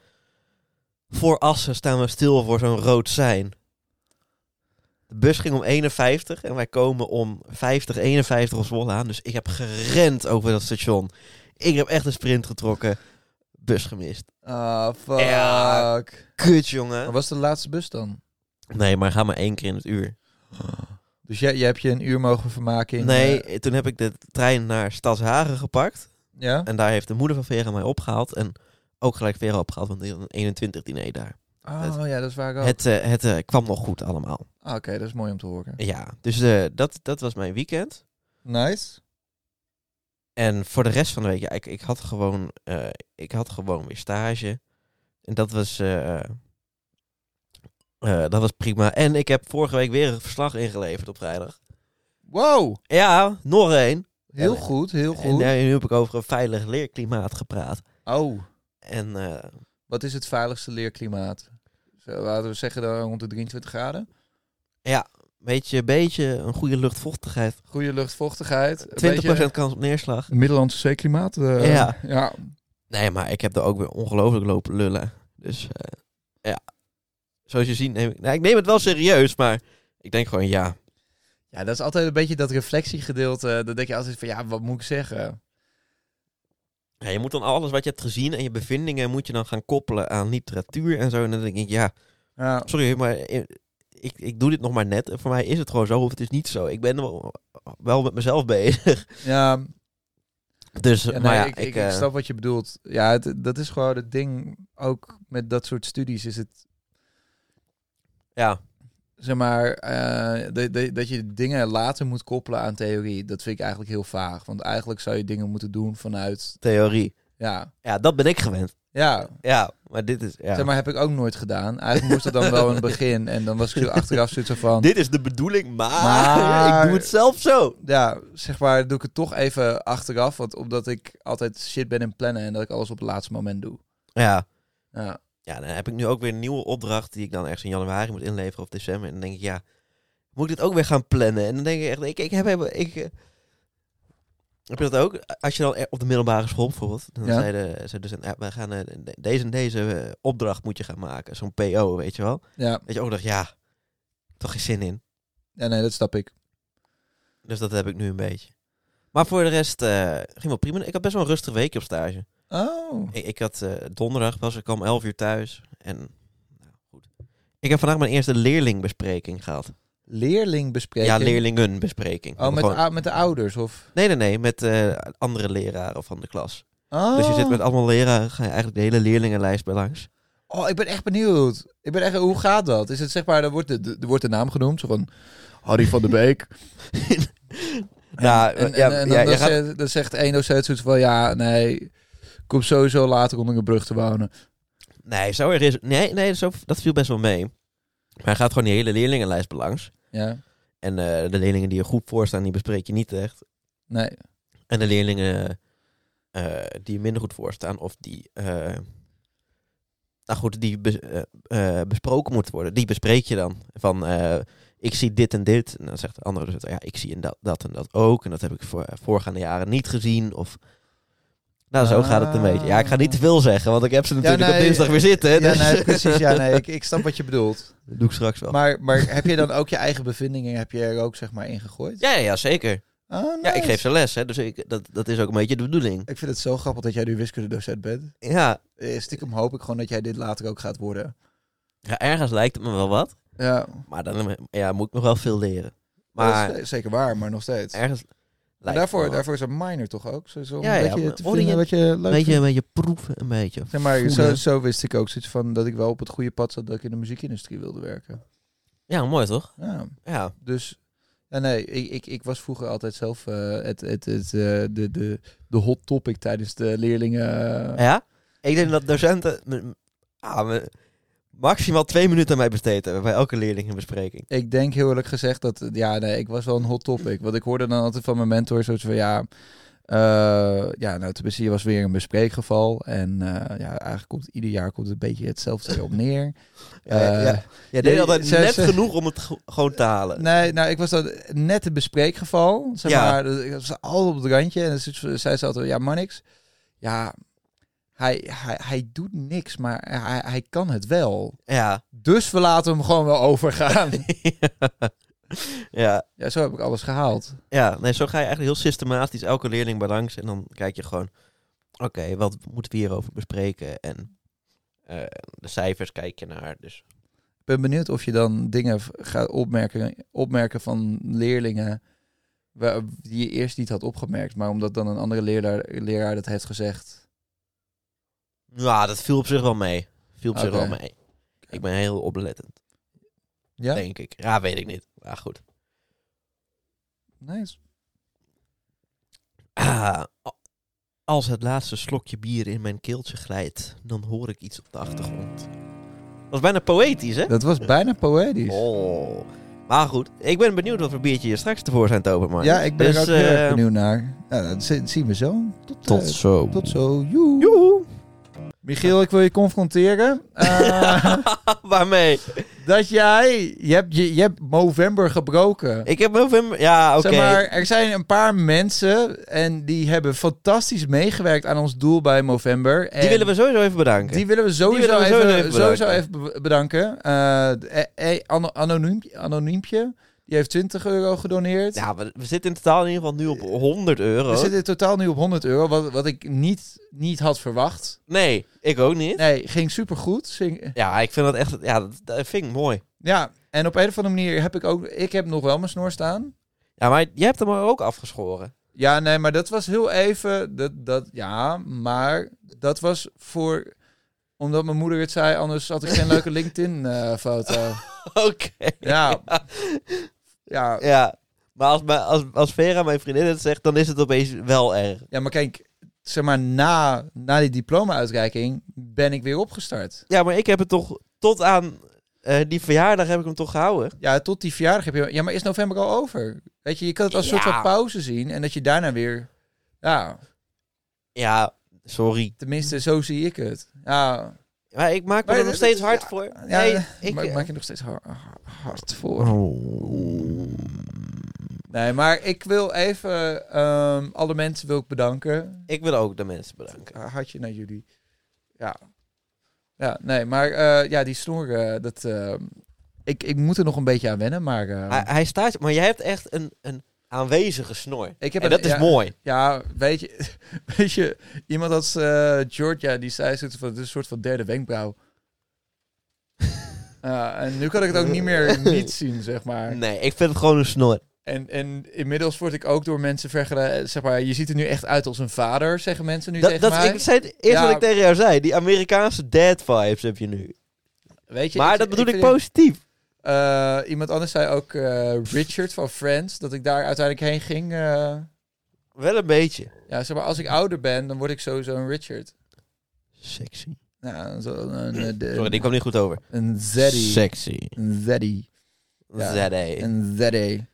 Speaker 3: Voor Assen staan we stil voor zo'n rood sein. De bus ging om 51 en wij komen om 50, 51 op Zwolle aan. Dus ik heb gerend over dat station. Ik heb echt een sprint getrokken. Bus gemist.
Speaker 2: Ah, fuck.
Speaker 3: Ja. Kut, jongen.
Speaker 2: Wat was de laatste bus dan?
Speaker 3: Nee, maar ga maar één keer in het uur.
Speaker 2: Dus jij, jij hebt je een uur mogen vermaken in...
Speaker 3: Nee,
Speaker 2: eh,
Speaker 3: eh, toen heb ik de trein naar Stadshagen gepakt.
Speaker 2: ja?
Speaker 3: En daar heeft de moeder van Vera mij opgehaald. En ook gelijk Vera opgehaald, want die had een 21 diner daar.
Speaker 2: Oh ja, dat is waar ik ook.
Speaker 3: Het, eh, het eh, kwam nog goed allemaal.
Speaker 2: Ah, Oké, dat is mooi om te horen.
Speaker 3: Ja, dus eh, dat, dat was mijn weekend.
Speaker 2: Nice.
Speaker 3: En voor de rest van de week, ja, ik, ik, had, gewoon, eh, ik had gewoon weer stage. En dat was, eh, eh, dat was prima. En ik heb vorige week weer een verslag ingeleverd op vrijdag.
Speaker 2: Wow,
Speaker 3: Ja, nog één.
Speaker 2: heel
Speaker 3: Ja,
Speaker 2: goed, heel
Speaker 3: En
Speaker 2: goed.
Speaker 3: daar- nu heb ik over een veilig leerklimaat gepraat.
Speaker 2: Oh,
Speaker 3: En eh,
Speaker 2: wat is het veiligste leerklimaat? Zo, Laten we zeggen dan rond de 23 graden.
Speaker 3: weet je, een beetje een goede luchtvochtigheid. 20%
Speaker 2: Goede luchtvochtigheid. een beetje-
Speaker 3: kans op neerslag.
Speaker 2: Middellandse zeeklimaat. eh,
Speaker 3: Ja.
Speaker 2: ja.
Speaker 3: Nee, maar ik heb er ook weer ongelooflijk lopen lullen. Dus eh, ja, zoals je ziet neem ik... Nou, ik neem het wel serieus, maar ik denk gewoon ja.
Speaker 2: Ja, dat is altijd een beetje dat reflectiegedeelte. Dan denk je altijd van, ja, wat moet ik zeggen?
Speaker 3: Ja, je moet dan alles wat je hebt gezien en je bevindingen moet je dan gaan koppelen aan literatuur en zo. En dan denk ik, ja,
Speaker 2: Ja,
Speaker 3: sorry, maar eh, ik, ik doe dit nog maar net. En voor mij is het gewoon zo of het is niet zo. Ik ben wel, wel met mezelf bezig.
Speaker 2: ja,
Speaker 3: Dus,
Speaker 2: ja, nee,
Speaker 3: maar ja,
Speaker 2: ik, ik, ik
Speaker 3: eh,
Speaker 2: snap wat je bedoelt. Ja, het- dat is gewoon het ding, ook met dat soort studies is het,
Speaker 3: ja,
Speaker 2: zeg maar, eh, de- de- dat je dingen later moet koppelen aan theorie. Dat vind ik eigenlijk heel vaag, want eigenlijk zou je dingen moeten doen vanuit,
Speaker 3: theorie.
Speaker 2: ja,
Speaker 3: Ja, dat ben ik gewend.
Speaker 2: ja.
Speaker 3: Ja, maar dit is... Ja.
Speaker 2: Zeg maar, heb ik ook nooit gedaan. Eigenlijk moest het dan wel in het begin. En dan was ik zo achteraf zoiets van...
Speaker 3: Dit is de bedoeling, maar,
Speaker 2: Maar-
Speaker 3: ik doe het zelf zo.
Speaker 2: ja, zeg maar, doe ik het toch even achteraf. Want omdat ik altijd shit ben in plannen en dat ik alles op het laatste moment doe.
Speaker 3: Ja.
Speaker 2: Ja,
Speaker 3: ja, dan heb ik nu ook weer een nieuwe opdracht die ik dan ergens in januari moet inleveren of december. En dan denk ik, ja, moet ik dit ook weer gaan plannen? En dan denk ik echt, ik, ik heb... Ik, ik, eh, heb je dat ook? Als je dan er- op de middelbare school bijvoorbeeld, dan
Speaker 2: Ja.
Speaker 3: zei de, zei de docent, ja, wij gaan eh, de- deze en deze eh, opdracht moet je gaan maken. Zo'n PO, weet je wel.
Speaker 2: ja.
Speaker 3: Dat je ook dacht, ja, toch geen zin in.
Speaker 2: ja nee, dat snap ik.
Speaker 3: Dus dat heb ik nu een beetje. Maar voor de rest eh, ging wel prima. Ik had best wel een rustig weekje op stage.
Speaker 2: Oh.
Speaker 3: Ik, ik had eh, donderdag was ik om 11 uur thuis en nou, goed. Ik heb vandaag mijn eerste leerlingbespreking gehad.
Speaker 2: Leerlingbespreking.
Speaker 3: Ja, leerlingenbespreking.
Speaker 2: Oh, met,
Speaker 3: Gewoon-
Speaker 2: de ou- met de ouders of...
Speaker 3: Nee, nee, nee, met eh, andere leraren van de klas.
Speaker 2: Oh.
Speaker 3: Dus je zit met allemaal leraren, ga je eigenlijk de hele leerlingenlijst bij langs.
Speaker 2: Oh, ik ben echt benieuwd. Ik ben echt... Hoe gaat dat? Is het zeg maar... Er wordt de, de- er wordt de naam genoemd. Zo van... Harry van der Beek.
Speaker 3: Nou,
Speaker 2: En,
Speaker 3: ja,
Speaker 2: en, en
Speaker 3: ja,
Speaker 2: dan,
Speaker 3: je
Speaker 2: dan
Speaker 3: gaat-
Speaker 2: zegt, dan zegt één docent zoiets van... Ja, nee... ik Kom sowieso later onder een brug te wonen.
Speaker 3: Nee, zo er is. Nee, nee zo, dat viel best wel mee. Maar hij gaat gewoon die hele leerlingenlijst bij langs.
Speaker 2: Ja.
Speaker 3: En eh, de leerlingen die er goed voor staan, die bespreek je niet echt.
Speaker 2: Nee.
Speaker 3: En de leerlingen eh, die er minder goed voor staan of die, eh, nou goed, die bes- eh, eh, besproken moeten worden, die bespreek je dan. Van eh, ik zie dit en dit. En dan zegt de andere dus, ja, ik zie en dat, dat en dat ook. En dat heb ik voor, eh, voorgaande jaren niet gezien. Of, nou, zo gaat het een beetje. Ja, ik ga niet te veel zeggen, want ik heb ze natuurlijk
Speaker 2: Ah. nee,
Speaker 3: op dinsdag weer zitten. hè,
Speaker 2: Ja,
Speaker 3: dus- Oh.
Speaker 2: nee, precies. Ja, nee, ik, ik snap wat je bedoelt.
Speaker 3: Dat doe ik straks wel.
Speaker 2: Maar, maar heb je dan ook je eigen bevindingen heb je er ook zeg maar ingegooid?
Speaker 3: ja, ja, zeker.
Speaker 2: Oh, nice.
Speaker 3: Ja, ik geef ze les, hè, dus ik, dat, dat is ook een beetje de bedoeling.
Speaker 2: Ik vind het zo grappig dat jij nu wiskundedocent bent.
Speaker 3: Ja,
Speaker 2: Eh, Stiekem hoop ik gewoon dat jij dit later ook gaat worden.
Speaker 3: ja, ergens lijkt het me wel wat.
Speaker 2: Ja,
Speaker 3: Maar dan ja, moet ik nog wel veel leren.
Speaker 2: maar,
Speaker 3: Maar
Speaker 2: dat is zeker waar, maar nog steeds.
Speaker 3: ergens lijkt
Speaker 2: Maar
Speaker 3: het
Speaker 2: daarvoor,
Speaker 3: wel wat.
Speaker 2: daarvoor is een minor toch ook? Zo, zo
Speaker 3: Ja,
Speaker 2: een
Speaker 3: ja,
Speaker 2: beetje
Speaker 3: maar
Speaker 2: te
Speaker 3: orient-
Speaker 2: vinden wat je leuk
Speaker 3: Een beetje,
Speaker 2: vindt.
Speaker 3: een beetje proeven, een beetje.
Speaker 2: Zeg maar, zo,
Speaker 3: voelen.
Speaker 2: zo wist ik ook zoiets van dat ik wel op het goede pad zat dat ik in de muziekindustrie wilde werken.
Speaker 3: Ja, mooi toch?
Speaker 2: Ja.
Speaker 3: Ja.
Speaker 2: Dus ja, nee, ik, ik, ik was vroeger altijd zelf eh, het, het, het, eh, de, de, de hot topic tijdens de leerlingen. eh,
Speaker 3: ja? Ik denk dat docenten m- m- ah, me- maximaal twee minuten aan mij besteed hebben bij elke leerling in bespreking.
Speaker 2: Ik denk heel eerlijk gezegd dat, eh, ja, nee, ik was wel een hot topic. Want ik hoorde dan altijd van mijn mentor zoiets van, ja, eh, ja, nou, tenminste, je was weer een bespreekgeval. En eh, ja, eigenlijk komt ieder jaar komt het een beetje hetzelfde erop neer.
Speaker 3: Ja, ja,
Speaker 2: Eh,
Speaker 3: ja. Jij deed
Speaker 2: nee,
Speaker 3: altijd
Speaker 2: ze-
Speaker 3: net
Speaker 2: ze-
Speaker 3: genoeg om het ge- gewoon te halen.
Speaker 2: Nee, nou, ik was dan net een bespreekgeval. Zeg
Speaker 3: Ja.
Speaker 2: maar, dus ik was al op het randje. En dan zei ze altijd, ja, maar niks. Ja, hij, hij, hij doet niks, maar hij, hij kan het wel.
Speaker 3: Ja.
Speaker 2: Dus we laten hem gewoon wel overgaan.
Speaker 3: ja.
Speaker 2: ja, zo heb ik alles gehaald.
Speaker 3: Ja, nee, zo ga je eigenlijk heel systematisch elke leerling bij langs. En dan kijk je gewoon, oké, wat moeten we hierover bespreken? En eh, de cijfers kijk je naar. Dus
Speaker 2: Ik ben benieuwd of je dan dingen v- gaat opmerken, opmerken van leerlingen waar, die je eerst niet had opgemerkt. Maar omdat dan een andere leraar, leraar dat heeft gezegd.
Speaker 3: ja, dat viel op zich wel mee. Viel op zich
Speaker 2: Oké.
Speaker 3: wel mee. Ik ben heel oplettend,
Speaker 2: Ja,
Speaker 3: denk ik. Ja, weet ik niet. Ja, goed.
Speaker 2: nice.
Speaker 3: Ah, a- als het laatste slokje bier in mijn keeltje glijdt, dan hoor ik iets op de achtergrond. Dat was bijna poëtisch, hè?
Speaker 2: Dat was bijna poëtisch.
Speaker 3: Oh. Maar goed, ik ben benieuwd wat voor biertje je straks tevoorschijn tovert, man.
Speaker 2: Ja, ik ben
Speaker 3: Dus,
Speaker 2: er ook heel
Speaker 3: eh,
Speaker 2: erg benieuwd naar. Ja, dat zi- zien we zo. Tot, eh,
Speaker 3: Tot zo.
Speaker 2: tot zo. Joe.
Speaker 3: Joehoe.
Speaker 2: Michiel, ik wil je confronteren. Eh,
Speaker 3: Waarmee?
Speaker 2: dat jij... Je hebt, je, je hebt Movember gebroken.
Speaker 3: Ik heb november... Ja, oké.
Speaker 2: Zeg maar, er zijn een paar mensen en die hebben fantastisch meegewerkt aan ons doel bij Movember. En
Speaker 3: Die willen we sowieso even bedanken.
Speaker 2: Die willen we sowieso,
Speaker 3: willen we
Speaker 2: even,
Speaker 3: sowieso
Speaker 2: sowieso,
Speaker 3: even
Speaker 2: even be- bedanken. Eh, eh, eh, ano- anoniempje, anoniempje, die heeft 20 euro gedoneerd.
Speaker 3: Ja, we, we zitten in totaal in ieder geval nu op 100 euro.
Speaker 2: We zitten in totaal nu op 100 euro, wat, wat ik niet, niet had verwacht.
Speaker 3: Nee, ik ook niet.
Speaker 2: Nee, ging supergoed. Zing-
Speaker 3: Ja, ik vind dat echt... Ja, dat, dat vind ik mooi.
Speaker 2: Ja, en op een of andere manier heb ik ook... Ik heb nog wel mijn snor staan.
Speaker 3: Ja, maar je hebt hem ook afgeschoren.
Speaker 2: Ja, nee, maar dat was heel even... Dat, dat, ja, maar dat was voor... Omdat mijn moeder het zei, anders had ik geen leuke LinkedIn-foto.
Speaker 3: Oké.
Speaker 2: ja. ja.
Speaker 3: Ja. Maar als, mijn- als, als Vera, mijn vriendin, het zegt, dan is het opeens wel erg.
Speaker 2: Ja, maar kijk, zeg maar, na, na die diploma-uitreiking ben ik weer opgestart.
Speaker 3: Ja, maar ik heb het toch tot aan eh, die verjaardag heb ik hem toch gehouden.
Speaker 2: Ja, tot die verjaardag heb je... Ja, maar is november al over? Weet je, je kan het als een soort
Speaker 3: Ja.
Speaker 2: van pauze zien en dat je daarna weer... Ja,
Speaker 3: Ja, sorry.
Speaker 2: tenminste, zo zie ik het. Ja,
Speaker 3: Maar ik maak me
Speaker 2: Maar
Speaker 3: er
Speaker 2: dat
Speaker 3: nog steeds
Speaker 2: is-
Speaker 3: hard
Speaker 2: ja,
Speaker 3: voor.
Speaker 2: ja
Speaker 3: nee,
Speaker 2: eh,
Speaker 3: ik,
Speaker 2: maar ik maak je nog steeds har- har- hard
Speaker 3: Oh.
Speaker 2: voor. Nee, maar ik wil even... ehm, alle mensen wil ik bedanken.
Speaker 3: ik wil ook de mensen bedanken.
Speaker 2: Hartje naar jullie. Ja. Ja, nee, maar eh, ja, die snor, eh, dat... eh, ik, ik moet er nog een beetje aan wennen, maar... eh,
Speaker 3: Hij, hij staat, maar jij hebt echt een, een aanwezige snor.
Speaker 2: Ik heb
Speaker 3: en
Speaker 2: een-
Speaker 3: dat is
Speaker 2: ja.
Speaker 3: mooi.
Speaker 2: Ja, weet je, weet je iemand als eh, Georgia, die zei zoiets van, het is een soort van derde wenkbrauw. Ja, en nu kan ik het ook niet meer niet zien, zeg maar.
Speaker 3: Nee, ik vind het gewoon een snor.
Speaker 2: En, en inmiddels word ik ook door mensen vergelijken, zeg maar, je ziet er nu echt uit als een vader, zeggen mensen nu
Speaker 3: Dat,
Speaker 2: tegen
Speaker 3: dat,
Speaker 2: mij.
Speaker 3: ik zei het eerst
Speaker 2: Ja.
Speaker 3: wat ik tegen jou zei. Die Amerikaanse dad vibes heb je nu.
Speaker 2: Weet je,
Speaker 3: Maar dat bedoel ik,
Speaker 2: vind-
Speaker 3: positief.
Speaker 2: eh, iemand anders zei ook eh, Richard van Friends, dat ik daar uiteindelijk heen ging. eh.
Speaker 3: Wel een beetje.
Speaker 2: ja, zeg maar, als ik ouder ben, dan word ik sowieso een Richard.
Speaker 3: Sexy.
Speaker 2: Ja, zo, een, eh, de-
Speaker 3: Sorry, ik kwam niet goed over.
Speaker 2: een Zeddy.
Speaker 3: Sexy.
Speaker 2: Een Zeddy. Ja.
Speaker 3: Zaddy.
Speaker 2: Een Zeddy.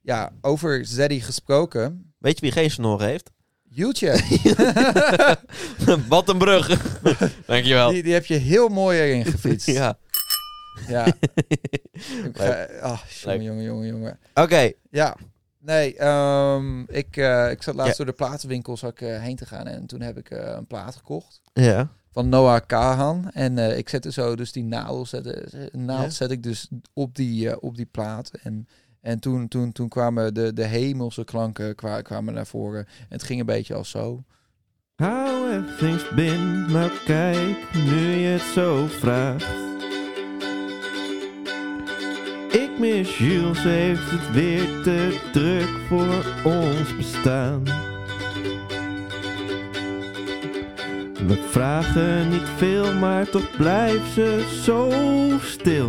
Speaker 2: Ja, over Zeddy gesproken.
Speaker 3: Weet je wie geen snor heeft?
Speaker 2: Jultje,
Speaker 3: wat een brug. Dankjewel.
Speaker 2: die, die heb je heel mooi erin gefietst.
Speaker 3: Ja.
Speaker 2: ja. Ik ga- ah, jongen,
Speaker 3: Leuk.
Speaker 2: jongen, jongen, jongen.
Speaker 3: Oké.
Speaker 2: Ja. Nee, ehm, ik, eh, ik zat laatst
Speaker 3: Ja.
Speaker 2: door de platenwinkel zat ik, eh, heen te gaan. En toen heb ik eh, een plaat gekocht.
Speaker 3: Ja.
Speaker 2: Van Noah Kahan. En eh, ik zette zo dus die naald, zette, naald
Speaker 3: Ja.
Speaker 2: zet ik dus op die, eh, op die plaat. En, en toen, toen, toen kwamen de, de hemelse klanken kwa- kwamen naar voren. En het ging een beetje als zo.
Speaker 4: How have things been? Nou kijk, nu je het zo vraagt. Ik mis Jules, ze heeft het weer te druk voor ons bestaan. We vragen niet veel, maar toch blijft ze zo stil.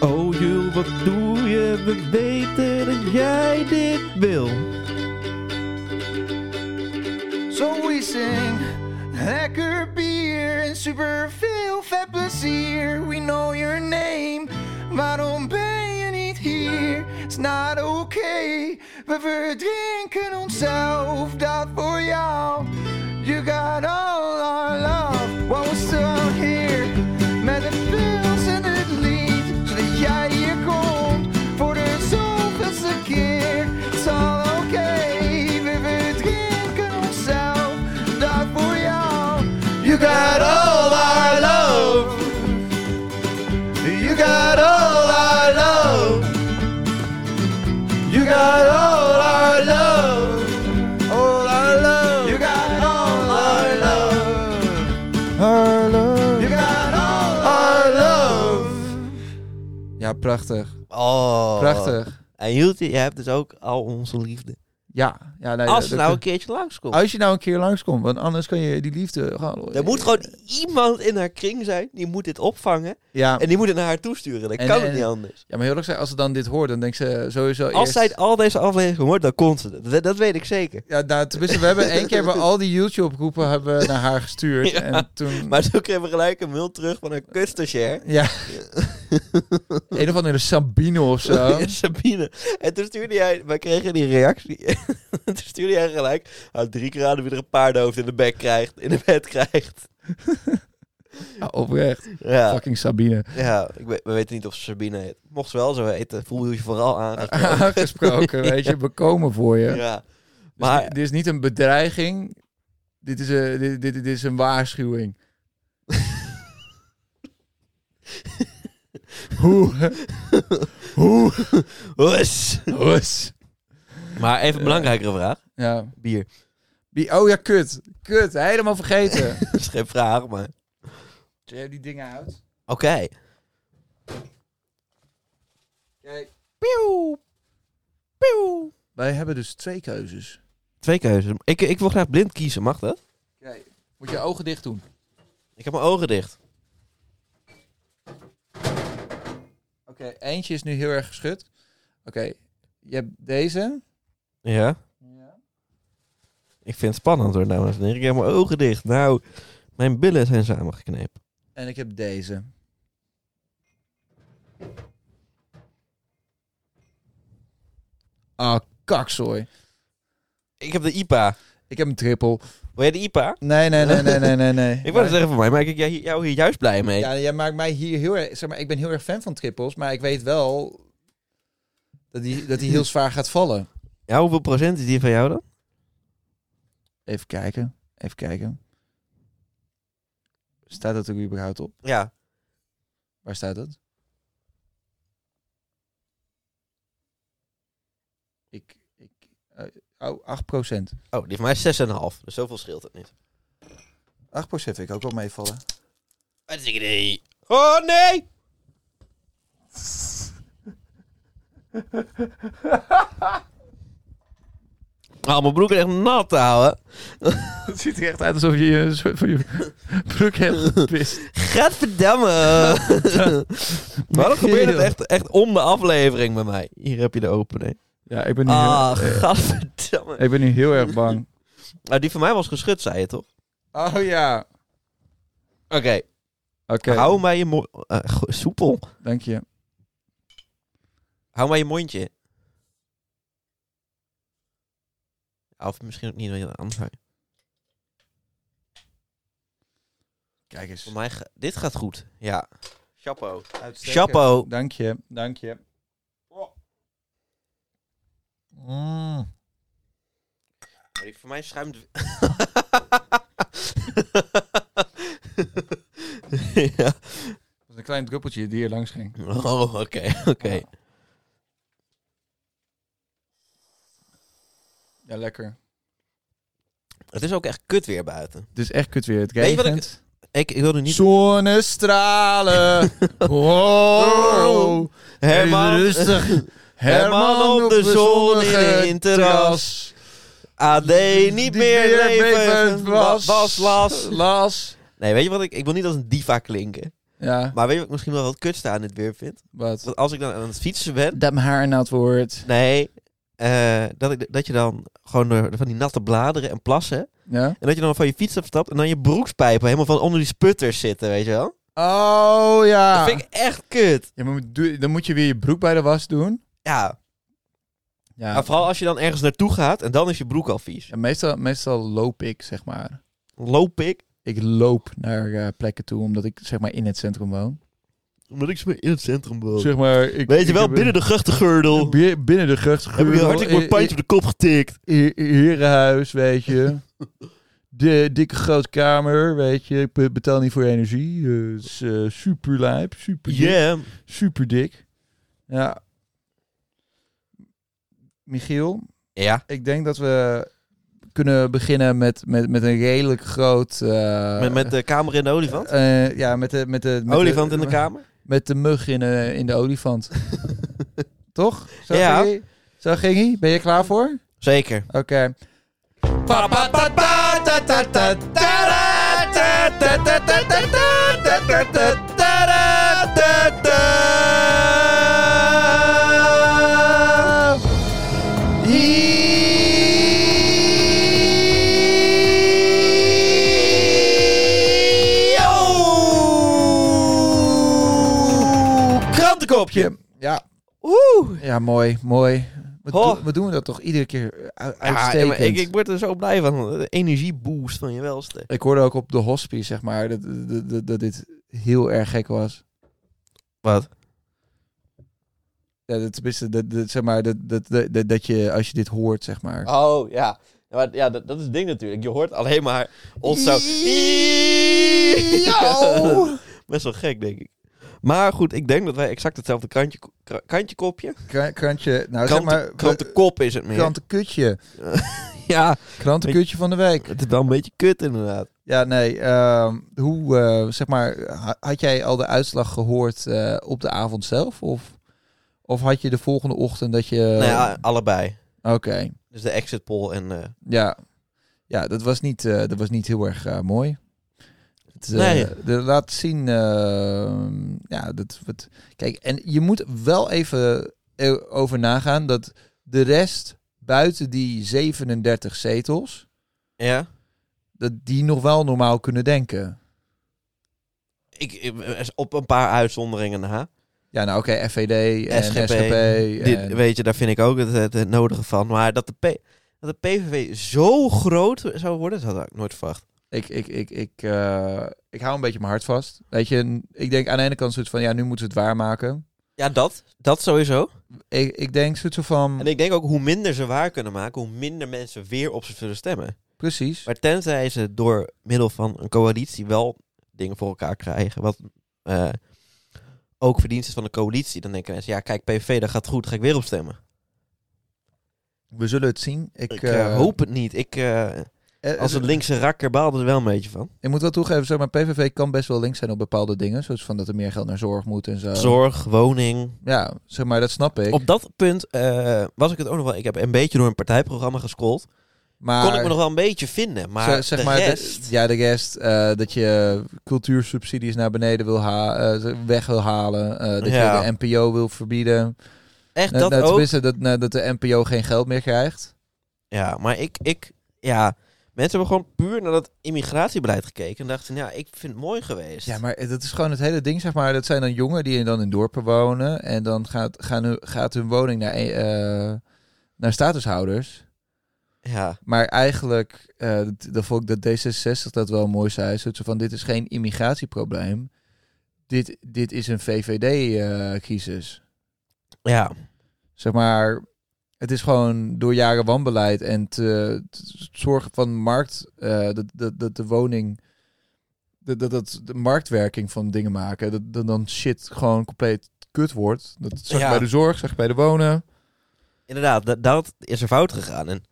Speaker 4: Oh Jules, wat doe je? We weten dat jij dit wil.
Speaker 2: Zo we zing lekker bier en super veel vet plezier. We know your name, waarom ben je niet hier? It's not okay, we verdrinken onszelf, dat voor jou. You got all our love, while we're still here. Met de pils en het lied, zodat jij hier komt. Voor de zoveelste keer, it's all okay, we verdrinken onszelf.
Speaker 1: got all our love. All our love. You got all our love. Our love. You got all our love.
Speaker 2: Ja, prachtig.
Speaker 3: Oh.
Speaker 2: Prachtig.
Speaker 3: En Hilti, jij hebt dus ook al onze liefde.
Speaker 2: Ja. ja nee,
Speaker 3: Als ze
Speaker 2: dat-
Speaker 3: nou een keertje langskomt.
Speaker 2: als je nou een keer langskomt, want anders kan je die liefde... gewoon-
Speaker 3: Er moet gewoon iemand in haar kring zijn die moet dit opvangen.
Speaker 2: Ja,
Speaker 3: En die moet het naar haar toesturen. Dat
Speaker 2: En-
Speaker 3: kan
Speaker 2: en-
Speaker 3: het niet anders.
Speaker 2: ja maar heel erg zeggen, als ze dan dit hoort, dan denkt ze sowieso
Speaker 3: Als
Speaker 2: eerst...
Speaker 3: zij al deze afleveringen hoort, dan komt ze. het. Dat, dat weet ik zeker.
Speaker 2: Ja, nou, tenminste, we hebben één keer bij al die YouTube-groepen hebben we naar haar gestuurd. En toen...
Speaker 3: Maar zo kregen we gelijk een mail terug van een kutstagiair.
Speaker 2: Ja. een of andere Sabine of zo.
Speaker 3: Sabine. En toen stuurde jij... Wij kregen die reactie. En toen stuurde jij gelijk... "Ah, drie keer raden wie er een paardenhoofd in de bek krijgt. In de bed krijgt.
Speaker 2: Ja, oprecht.
Speaker 3: Ja.
Speaker 2: Fucking Sabine.
Speaker 3: Ja, ik weet, we weten niet of ze Sabine heet. Mocht ze wel zo heten, voel je je vooral aangekomen.
Speaker 2: Aangesproken, weet je. Bekomen voor je.
Speaker 3: Ah, Ja.
Speaker 2: Dus
Speaker 3: Maar-
Speaker 2: di- dit is niet een bedreiging. Dit is een, dit, dit, dit is een waarschuwing. Hoe? Hoe?
Speaker 3: Hus.
Speaker 2: Hus.
Speaker 3: Maar even een belangrijkere vraag.
Speaker 2: Ja.
Speaker 3: Bier.
Speaker 2: Die, oh ja, kut. Kut. Helemaal vergeten.
Speaker 3: Dat is geen vraag, maar...
Speaker 2: Jij die dingen uit.
Speaker 3: Oké.
Speaker 2: Kijk.
Speaker 3: Pieuw. Pieuw.
Speaker 2: Wij hebben dus twee keuzes.
Speaker 3: Twee keuzes. Ik, ik wil graag blind kiezen, mag dat?
Speaker 2: Kijk. Moet je ogen dicht doen.
Speaker 3: Ik heb mijn ogen dicht.
Speaker 2: Oké, eentje is nu heel erg geschud. Oké, je hebt deze.
Speaker 3: Ja. Ik vind het spannend hoor, dames en heren. Ik heb mijn ogen dicht. Nou, mijn billen zijn samengeknepen.
Speaker 2: En ik heb deze. Ah, kakzooi.
Speaker 3: Ik heb de IPA.
Speaker 2: Ik heb een triple.
Speaker 3: Wil jij de IPA?
Speaker 2: Nee, nee, nee, nee, nee, nee. nee.
Speaker 3: Ik wou het zeggen voor mij, maar ik jij jou hier juist blij mee.
Speaker 2: Ja, jij maakt mij hier heel erg... Zeg maar, ik ben heel erg fan van trippels, maar ik weet wel... Dat die, dat die heel zwaar gaat vallen.
Speaker 3: Ja, hoeveel procent is die van jou dan?
Speaker 2: Even kijken, even kijken. Staat dat er überhaupt op?
Speaker 3: Ja.
Speaker 2: Waar staat het? Ik, ik, eh, oh, 8 procent.
Speaker 3: Oh, die van mij is 6,5. Dus zoveel scheelt het niet.
Speaker 2: 8 procent vind ik ook wel meevallen.
Speaker 3: Wat is ik nee. Oh nee! Ah, mijn broek is echt nat te houden.
Speaker 2: Het ziet er echt uit alsof je een soort van je broek hebt gepist.
Speaker 3: Gadverdamme. Waarom gebeurt het echt, echt om de aflevering bij mij? Hier heb je de opening.
Speaker 2: Ja, ik ben nu,
Speaker 3: Ah,
Speaker 2: heel, eh,
Speaker 3: gadverdamme.
Speaker 2: ik ben nu heel erg bang.
Speaker 3: Nou, die van mij was geschud, zei je toch?
Speaker 2: Oh ja.
Speaker 3: Oké.
Speaker 2: Oké,
Speaker 3: Hou mij je mo- eh, go- soepel.
Speaker 2: dank je.
Speaker 3: Hou mij je mondje. in. Of misschien ook niet heel anders.
Speaker 2: Kijk eens.
Speaker 3: Voor mij ga- dit gaat goed. Ja. Chapeau.
Speaker 2: Chapo.
Speaker 3: Chapeau.
Speaker 2: Dank je, dank je. Oh. Mm.
Speaker 3: Maar die voor mij schuimt. ja.
Speaker 2: Dat was een klein druppeltje die hier langs ging.
Speaker 3: Oh, oké, oké.
Speaker 2: Ja, lekker.
Speaker 3: Het is ook echt kut weer buiten.
Speaker 2: Het is echt kut weer. Het
Speaker 3: Weet je wat
Speaker 2: regent.
Speaker 3: ik- Ik, ik wilde niet.
Speaker 2: Zonnestralen. Oh, Wow.
Speaker 3: Herman.
Speaker 2: Rustig.
Speaker 3: Herman op de zon in
Speaker 2: zonnige
Speaker 3: een terras. AD niet meer leven. Was, was, las.
Speaker 2: Las.
Speaker 3: Nee, weet je wat ik. Ik wil niet als een diva klinken.
Speaker 2: Ja,
Speaker 3: Maar weet je wat ik misschien wel wat kutste aan dit weer vind?
Speaker 2: wat?
Speaker 3: Want als ik dan aan het fietsen ben.
Speaker 2: Dat mijn haar nat wordt.
Speaker 3: Nee. eh, dat, ik, dat je dan gewoon door van die natte bladeren en plassen.
Speaker 2: Ja?
Speaker 3: En dat je dan van je fiets afstapt en dan je broekspijpen helemaal van onder die sputters zitten, weet je wel?
Speaker 2: Oh, ja.
Speaker 3: Dat vind ik echt kut.
Speaker 2: ja maar doe- dan moet je weer je broek bij de was doen.
Speaker 3: Ja.
Speaker 2: Ja.
Speaker 3: Maar vooral als je dan ergens naartoe gaat en dan is je broek al vies.
Speaker 2: Ja, meestal, meestal loop ik, zeg maar.
Speaker 3: Loop ik.
Speaker 2: Ik loop naar eh, plekken toe, omdat ik zeg maar in het centrum woon.
Speaker 3: Omdat ik zo in het centrum woon.
Speaker 2: Zeg maar, ik,
Speaker 3: Weet je
Speaker 2: ik
Speaker 3: wel,
Speaker 2: heb-
Speaker 3: binnen de grachtengordel.
Speaker 2: Bi- Binnen de gracht.
Speaker 3: Heb je hard ik mijn
Speaker 2: Eh,
Speaker 3: pijntje op de kop getikt.
Speaker 2: he- herenhuis, weet je. De dikke grote kamer, weet je. Ik be- betaal niet voor energie. eh, Het is eh, super lijp, super dik.
Speaker 3: Yeah.
Speaker 2: Super dik. Ja. Michiel,
Speaker 3: Ja,
Speaker 2: ik denk dat we kunnen beginnen met, met, met een redelijk groot... eh,
Speaker 3: met, met de kamer in de olifant.
Speaker 2: eh, ja, met de... Met de eh, met
Speaker 3: olifant
Speaker 2: de,
Speaker 3: in de kamer.
Speaker 2: Met de mug in, eh, in de olifant. Toch? Zo
Speaker 3: Ja.
Speaker 2: ging hij? Zo ging hij? Ben je klaar voor?
Speaker 3: Zeker.
Speaker 2: Oké.
Speaker 3: Krantenkopje.
Speaker 2: Ja,
Speaker 3: Oeh.
Speaker 2: ja, mooi, mooi. Wat,
Speaker 3: Oh.
Speaker 2: doen- wat doen we dat toch iedere keer u-
Speaker 3: Ja,
Speaker 2: uitstekend.
Speaker 3: maar ik, ik word er zo blij van. De energieboost van je welste.
Speaker 2: Ik hoorde ook op de hospice, zeg maar, dat, dat, dat, dat dit heel erg gek was.
Speaker 3: Wat?
Speaker 2: Ja, dat, tenminste, dat, dat, zeg maar, dat, dat, dat, dat je, als je dit hoort, zeg maar.
Speaker 3: Oh, ja. Ja, Maar ja, dat, dat is het ding natuurlijk. Je hoort alleen maar ons zo...
Speaker 2: Iau.
Speaker 3: Best wel gek, denk ik. Maar goed, ik denk dat wij exact hetzelfde krantje, kra- kantjekopje...
Speaker 2: Kra- Krantje, nou
Speaker 3: Kranten,
Speaker 2: zeg maar...
Speaker 3: krantenkop is het meer.
Speaker 2: Krantenkutje.
Speaker 3: ja,
Speaker 2: Krantenkutje van de week.
Speaker 3: het is wel een beetje kut inderdaad.
Speaker 2: Ja, nee. ehm, hoe, eh, zeg maar, ha- had jij al de uitslag gehoord eh, op de avond zelf? Of, of had je de volgende ochtend dat je...
Speaker 3: nou ja, allebei.
Speaker 2: Oké,
Speaker 3: Dus de exit poll en... eh,
Speaker 2: ja. Ja, dat was niet, eh, dat was niet heel erg eh, mooi. Het, eh,
Speaker 3: Nee.
Speaker 2: de- laat zien... ehm, ja, dat... Wat, kijk, en je moet wel even e- over nagaan dat de rest buiten die 37 zetels...
Speaker 3: ja.
Speaker 2: dat die nog wel normaal kunnen denken.
Speaker 3: Ik, ik- op een paar uitzonderingen na.
Speaker 2: Ja, nou oké, FVD en
Speaker 3: SGP.
Speaker 2: SGP.
Speaker 3: Dit,
Speaker 2: en-
Speaker 3: weet je, daar vind ik ook het, het, het nodige van. Maar dat de, P, dat de PVV zo groot zou worden, dat had ik nooit verwacht.
Speaker 2: ik, ik, ik, ik, eh, ik hou een beetje mijn hart vast. Weet je, en ik denk aan de ene kant zoiets van, ja, nu moeten ze het waarmaken.
Speaker 3: Ja, dat. Dat sowieso.
Speaker 2: Ik, ik denk zoiets van,
Speaker 3: En ik denk ook hoe minder ze waar kunnen maken, hoe minder mensen weer op ze zullen stemmen.
Speaker 2: precies.
Speaker 3: Maar tenzij ze door middel van een coalitie wel dingen voor elkaar krijgen, wat eh, ook verdienst is van de coalitie, dan denken mensen, ja kijk, PVV, dat gaat goed, ga ik weer op stemmen.
Speaker 2: We zullen het zien. Ik,
Speaker 3: Ik eh,
Speaker 2: eh,
Speaker 3: hoop het niet. Ik, eh,
Speaker 2: eh,
Speaker 3: als een
Speaker 2: eh,
Speaker 3: linkse rakker baalde er wel een beetje van.
Speaker 2: Ik moet wel toegeven, zeg maar, PVV kan best wel links zijn op bepaalde dingen. Zoals van dat er meer geld naar zorg moet en zo.
Speaker 3: Zorg, woning,
Speaker 2: Ja, zeg maar, dat snap Eh, ik.
Speaker 3: Op dat punt eh, was ik het ook nog wel. Ik heb een beetje door een partijprogramma gescrollt.
Speaker 2: maar,
Speaker 3: kon ik me nog wel een beetje vinden. Maar
Speaker 2: Ah, Zeg- zeg
Speaker 3: de
Speaker 2: maar de-
Speaker 3: rest.
Speaker 2: ja, de rest. eh, dat je cultuursubsidies naar beneden wil ha eh, weg wil halen. eh, dat
Speaker 3: Ja.
Speaker 2: je de NPO wil verbieden.
Speaker 3: echt
Speaker 2: Nou,
Speaker 3: dat
Speaker 2: nou,
Speaker 3: ook.
Speaker 2: tenminste, dat, nou, dat de NPO geen geld meer krijgt.
Speaker 3: Ja, maar ik, ik. Ja, mensen hebben gewoon puur naar dat immigratiebeleid gekeken. En dachten, ja, ik vind het mooi geweest.
Speaker 2: Ja, maar dat is gewoon het hele ding, zeg maar. Dat zijn dan jongeren die dan in dorpen wonen. En dan gaat, gaan hun, gaat hun woning naar, eh, naar statushouders.
Speaker 3: Ja,
Speaker 2: Maar eigenlijk, eh dat- dat vond ik dat D66 dat wel mooi zei. Zoiets van, dit is geen immigratieprobleem. Dit, dit is een eh, VVD-crisis.
Speaker 3: ja.
Speaker 2: zeg maar, het is gewoon door jaren wanbeleid en te, te zorgen van markt, eh, dat, dat, dat de woning, dat, dat, dat de marktwerking van dingen maken, dat, dat dan shit gewoon compleet kut wordt. Dat zag
Speaker 3: Ja.
Speaker 2: ik bij de zorg, zag ik bij de wonen.
Speaker 3: inderdaad. Dat, dat is er fout gegaan. En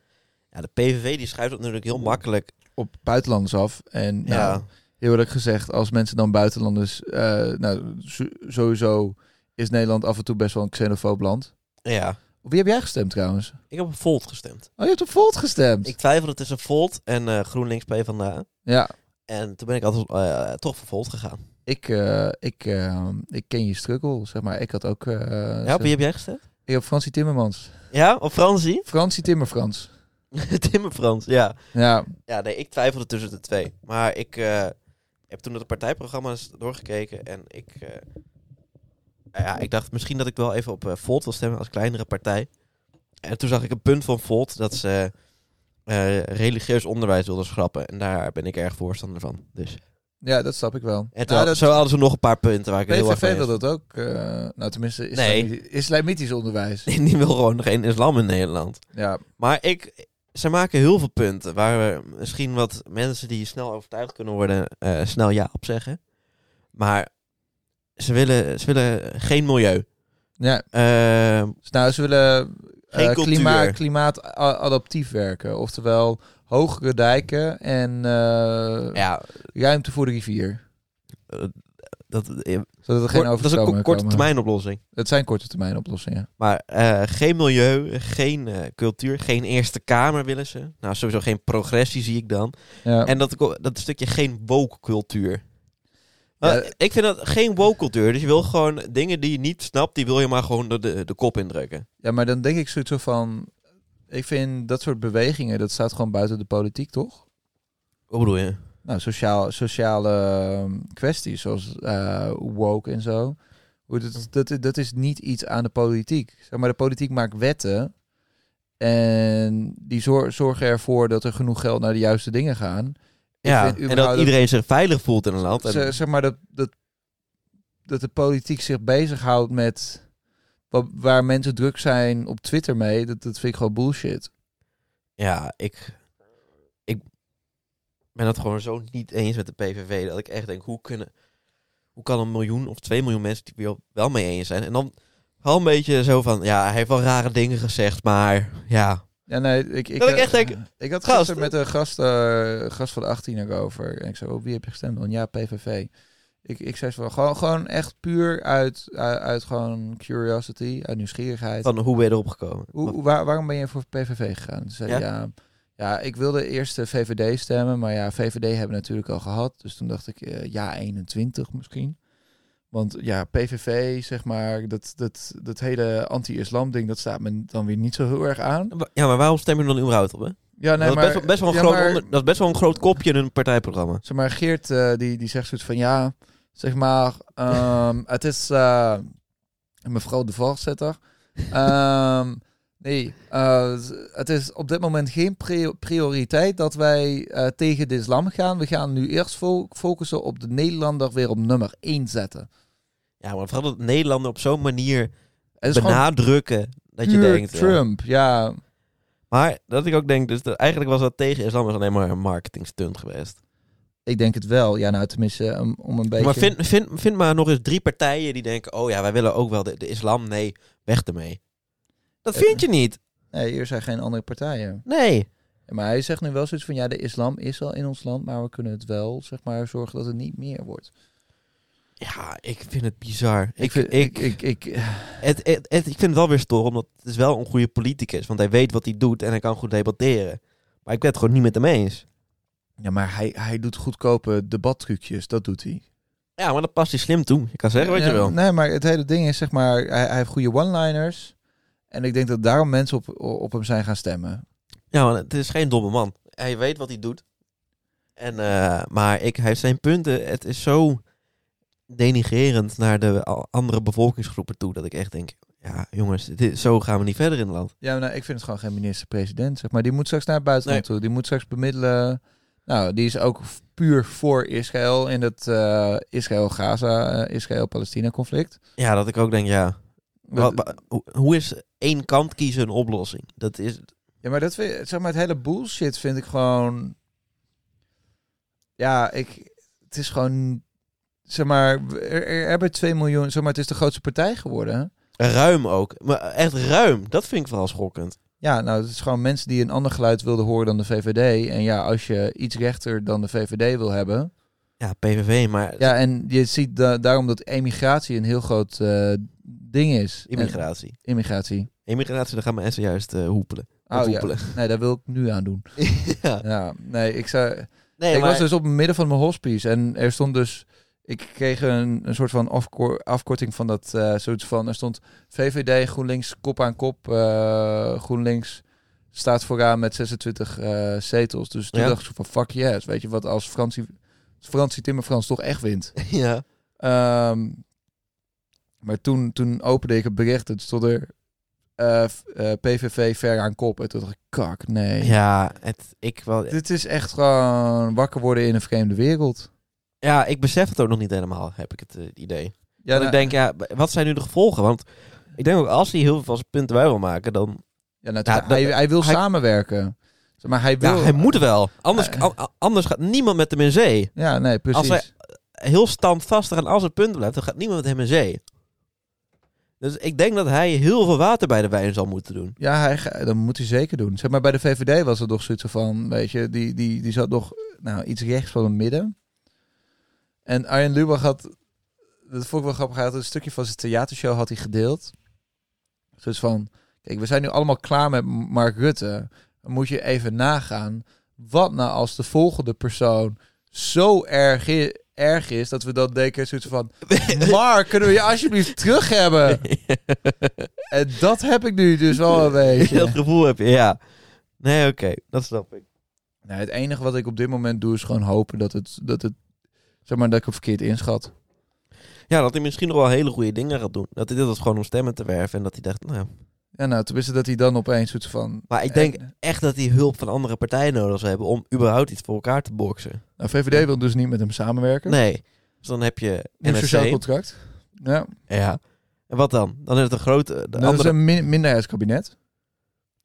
Speaker 3: ja, de PVV die schuift dat natuurlijk heel makkelijk.
Speaker 2: Op buitenlanders af. En
Speaker 3: Ja.
Speaker 2: nou, heel eerlijk gezegd, als mensen dan buitenlanders, eh, nou, zo- sowieso is Nederland af en toe best wel een xenofoob land.
Speaker 3: ja.
Speaker 2: Op Wie heb jij gestemd trouwens?
Speaker 3: Ik heb op Volt gestemd.
Speaker 2: Oh, je hebt op Volt gestemd.
Speaker 3: Ik twijfelde tussen Volt en eh, GroenLinks PvdA.
Speaker 2: Ja.
Speaker 3: En toen ben ik altijd eh, toch voor Volt gegaan.
Speaker 2: Ik, eh, ik, eh, ik ken je struggle, zeg maar. Ik had ook... eh,
Speaker 3: Ja,
Speaker 2: zeg-
Speaker 3: op wie heb jij gestemd?
Speaker 2: Ik heb Fransie Timmermans.
Speaker 3: Ja, op Fransie?
Speaker 2: Fransie Timmerfrans.
Speaker 3: Timmerfrans, ja.
Speaker 2: Ja,
Speaker 3: Ja, nee, ik twijfelde tussen de twee. Maar ik eh, heb toen het partijprogramma eens doorgekeken en ik... eh, nou ja, ik dacht misschien dat ik wel even op eh, Volt wil stemmen als kleinere partij. En toen zag ik een punt van Volt dat ze eh, religieus onderwijs wilden schrappen. En daar ben ik erg voorstander van. Dus.
Speaker 2: ja dat snap ik wel.
Speaker 3: En toen
Speaker 2: Nou,
Speaker 3: had-
Speaker 2: dat-
Speaker 3: zo hadden ze nog een paar punten waar ik heel erg
Speaker 2: PVV
Speaker 3: mee
Speaker 2: wil dat ook. eh, nou, tenminste,
Speaker 3: Nee.
Speaker 2: islamitisch, islamitisch onderwijs.
Speaker 3: eens- Die wil gewoon geen islam in Nederland.
Speaker 2: Ja,
Speaker 3: Maar ik, ze maken heel veel punten waar we misschien wat mensen die snel overtuigd kunnen worden, eh, snel ja op zeggen. Maar ze willen, ze willen geen milieu.
Speaker 2: ja.
Speaker 3: Eh,
Speaker 2: Dus nou, ze willen
Speaker 3: Geen
Speaker 2: eh,
Speaker 3: cultuur.
Speaker 2: klimaat, klimaatadaptief werken. Oftewel hogere dijken en eh,
Speaker 3: Ja,
Speaker 2: ruimte voor de rivier.
Speaker 3: dat, eh,
Speaker 2: Zodat er
Speaker 3: kort- dat
Speaker 2: geen
Speaker 3: is een
Speaker 2: overstromingen
Speaker 3: ko- korte
Speaker 2: komen.
Speaker 3: termijn oplossing.
Speaker 2: Het zijn korte termijn oplossingen.
Speaker 3: Maar eh, geen milieu, geen eh, cultuur, geen Eerste Kamer willen ze. Nou, sowieso geen progressie zie ik dan.
Speaker 2: Ja.
Speaker 3: En dat, ko- dat stukje geen woke cultuur.
Speaker 2: Ja.
Speaker 3: Eh, ik vind dat geen woke cultuur. Dus je wil gewoon dingen die je niet snapt, die wil je maar gewoon de, de, de kop indrukken.
Speaker 2: ja, maar dan denk ik zoiets zo van... Ik vind dat soort bewegingen, dat staat gewoon buiten de politiek, toch?
Speaker 3: Wat bedoel je?
Speaker 2: Nou, sociaal, sociale ehm, kwesties, zoals eh, woke en zo. Hoe Dat, dat, dat is niet iets aan de politiek. Zeg maar, de politiek maakt wetten. En die zor- zorgen ervoor dat er genoeg geld naar de juiste dingen gaan. Ik
Speaker 3: Ja,
Speaker 2: vind
Speaker 3: en
Speaker 2: überhaupt
Speaker 3: dat
Speaker 2: dat-
Speaker 3: iedereen zich veilig voelt in een land. En,
Speaker 2: Zeg, zeg maar dat, dat, dat de politiek zich bezighoudt met wat, waar mensen druk zijn op Twitter mee. Dat, dat vind ik gewoon bullshit.
Speaker 3: Ja, ik, ik ben het gewoon zo niet eens met de PVV. Dat ik echt denk, hoe, kunnen, hoe kan een miljoen of twee miljoen mensen die wel, wel mee eens zijn? En dan wel een beetje zo van, ja, hij heeft wel rare dingen gezegd, maar ja.
Speaker 2: Ja, nee, ik, ik,
Speaker 3: Dat ik echt denk,
Speaker 2: ik had
Speaker 3: gast.
Speaker 2: gisteren met een gast, eh, gast van de 18 erover. En ik zei, oh, wie heb je gestemd dan? Ja, PVV. Ik, ik zei van, gewoon, gewoon echt puur uit, uit, uit gewoon curiosity, uit nieuwsgierigheid.
Speaker 3: Van, hoe ben je erop gekomen?
Speaker 2: Hoe, hoe- waar, waarom ben je voor PVV gegaan? Toen zei
Speaker 3: Ja?
Speaker 2: hij, ja? ja, ik wilde eerst de VVD stemmen, maar ja, VVD hebben we natuurlijk al gehad. Dus toen dacht ik, eh, ja, 21 misschien. Want ja, PVV, zeg maar, dat, dat, dat hele anti-islam ding, dat staat me dan weer niet zo heel erg aan.
Speaker 3: Ja, maar waarom stem je dan überhaupt op, hè?
Speaker 2: Ja,
Speaker 3: dat, is best, wel- best wel een
Speaker 2: ja,
Speaker 3: groot
Speaker 2: maar-
Speaker 3: onder- dat is best wel een groot kopje in een partijprogramma.
Speaker 2: Zeg maar, Geert eh, die, die zegt zoiets van ja, zeg maar, ehm, het is eh, mevrouw de voorzitter. Ehm, nee, eh, het is op dit moment geen prio- prioriteit dat wij eh, tegen de islam gaan. We gaan nu eerst fo- focussen op de Nederlander weer op nummer 1 zetten.
Speaker 3: Ja, maar vooral dat Nederlanden op zo'n manier
Speaker 2: Het is gewoon
Speaker 3: benadrukken dat je
Speaker 2: puur
Speaker 3: denkt... eh. ja.
Speaker 2: Trump, ja.
Speaker 3: Maar dat ik ook denk, dus dat, eigenlijk was dat tegen islam is alleen maar een marketing stunt geweest.
Speaker 2: Ik denk het wel. Ja, nou tenminste, om, om een beetje...
Speaker 3: Maar vind, vind, vind maar nog eens drie partijen die denken: oh ja, wij willen ook wel de, de islam. Nee, weg ermee. Dat
Speaker 2: Eh.
Speaker 3: vind je niet.
Speaker 2: Nee, hier zijn geen andere partijen.
Speaker 3: Nee.
Speaker 2: Maar hij zegt nu wel zoiets van, ja, de islam is al in ons land, maar we kunnen het wel, zeg maar, zorgen dat het niet meer wordt.
Speaker 3: Ja, ik vind het bizar. Ik,
Speaker 2: Ik,
Speaker 3: vind, ik,
Speaker 2: ik, ik,
Speaker 3: het, het, het- ik vind het wel weer stoer, omdat het is wel een goede politicus. Want hij weet wat hij doet en hij kan goed debatteren. Maar ik ben het gewoon niet met hem eens.
Speaker 2: ja, maar hij, hij doet goedkope debattrucjes, dat doet hij.
Speaker 3: Ja, maar dat past hij slim toe. Je kan zeggen wat je wil.
Speaker 2: Nee, maar het hele ding is, zeg maar, hij, hij heeft goede one-liners. En ik denk dat daarom mensen op, op hem zijn gaan stemmen.
Speaker 3: Ja, maar het is geen domme man. Hij weet wat hij doet. En, eh, maar ik, hij heeft zijn punten. Het is zo denigerend naar de a- andere bevolkingsgroepen toe. Dat ik echt denk, ja jongens, dit, zo gaan we niet verder in het land.
Speaker 2: Ja, nou, ik vind het gewoon geen minister-president, zeg maar. Die moet straks naar het buitenland toe, die moet straks bemiddelen. Nou, die is ook f- puur voor Israël in het eh, Israël-Gaza, eh, Israël-Palestina-conflict.
Speaker 3: Ja, dat ik ook denk, ja. Wat,
Speaker 2: Dat-
Speaker 3: wa- hoe, hoe is één kant kiezen een oplossing? Dat is,
Speaker 2: Ja, maar dat vind, zeg maar, het hele bullshit vind ik gewoon. Ja, ik. Het is gewoon. Zeg maar, er, er hebben 2 miljoen. Zeg maar, het is de grootste partij geworden.
Speaker 3: ruim ook. Maar echt ruim. Dat vind ik vooral schokkend.
Speaker 2: Ja, nou, het is gewoon mensen die een ander geluid wilden horen dan de VVD. En ja, als je iets rechter dan de VVD wil hebben.
Speaker 3: Ja, PVV, maar
Speaker 2: Ja, en je ziet da- daarom dat emigratie een heel groot eh, ding is. En-
Speaker 3: immigratie.
Speaker 2: immigratie.
Speaker 3: Immigratie, daar gaan mensen juist eh, hoepelen.
Speaker 2: Oh, ja.
Speaker 3: hoepelen.
Speaker 2: Nee, daar wil ik nu aan doen.
Speaker 3: Ja.
Speaker 2: Ja, nee, ik zou.
Speaker 3: Nee,
Speaker 2: ik
Speaker 3: maar-
Speaker 2: was dus op het midden van mijn hospice en er stond dus... Ik kreeg een, een soort van afko- afkorting van dat eh soort van... Er stond VVD, GroenLinks, kop aan kop. eh, GroenLinks staat vooraan met 26 eh, zetels. Dus toen
Speaker 3: Ja.
Speaker 2: dacht ik zo van fuck yes. Weet je wat, als Fransie, Fransie Timmerfrans toch echt wint.
Speaker 3: ja.
Speaker 2: Ehm, maar toen, toen opende ik het bericht en toen stond er... eh, f- eh, PVV ver aan kop. En toen dacht ik, kak, nee.
Speaker 3: Ja, het, ik, wel,
Speaker 2: Dit is echt gewoon wakker worden in een vreemde wereld.
Speaker 3: ja, ik besef het ook nog niet helemaal, heb ik het eh, idee.
Speaker 2: Ja, nou-
Speaker 3: Want ik denk, ja, b- wat zijn nu de gevolgen? Want ik denk ook, als hij heel veel van zijn punten bij wil maken, dan...
Speaker 2: ja, natuurlijk.
Speaker 3: Ja, dat-
Speaker 2: hij, hij wil
Speaker 3: hij-
Speaker 2: samenwerken. Zeg Maar hij
Speaker 3: Ja,
Speaker 2: wil...
Speaker 3: hij moet wel. Anders,
Speaker 2: Eh.
Speaker 3: a- a- anders gaat niemand met hem in zee.
Speaker 2: Ja, nee, precies.
Speaker 3: Als hij- Heel standvastig en als het punten blijft, dan gaat niemand met hem in zee. Dus ik denk dat hij heel veel water bij de wijn zal moeten doen.
Speaker 2: Ja, hij, ga- dat moet hij zeker doen. Zeg maar bij de VVD was het toch zoiets van, weet je, die, die, die zat nog nou, iets rechts van het midden. En Arjen Lubach had, dat vond ik wel grappig, hij had een stukje van zijn theatershow had hij gedeeld. Zoiets van, kijk, we zijn nu allemaal klaar met Mark Rutte. Dan moet je even nagaan, wat nou als de volgende persoon zo erg is, erg is dat we dan denken zoiets van, Mark, kunnen we je alsjeblieft terug hebben? En dat heb ik nu dus wel een beetje.
Speaker 3: Dat gevoel heb je, ja. Nee, oké, dat snap ik.
Speaker 2: Nou, het enige wat ik op dit moment doe is gewoon hopen dat het, dat het zeg maar, dat ik hem verkeerd inschat.
Speaker 3: Ja, dat hij misschien nog wel hele goede dingen gaat doen. Dat hij dit was gewoon om stemmen te werven en dat hij dacht, nou...
Speaker 2: Ja, nou, tenminste dat hij dan opeens zoiets van...
Speaker 3: Maar ik denk
Speaker 2: En,
Speaker 3: echt dat hij hulp van andere partijen nodig zou hebben om überhaupt iets voor elkaar te boksen.
Speaker 2: nou, VVD wil dus niet met hem samenwerken.
Speaker 3: Nee, dus dan heb je
Speaker 2: Een sociaal
Speaker 3: NSC.
Speaker 2: contract. Ja,
Speaker 3: Ja. En wat dan? Dan is het een grote... De,
Speaker 2: dat is
Speaker 3: andere,
Speaker 2: een min- minderheidskabinet.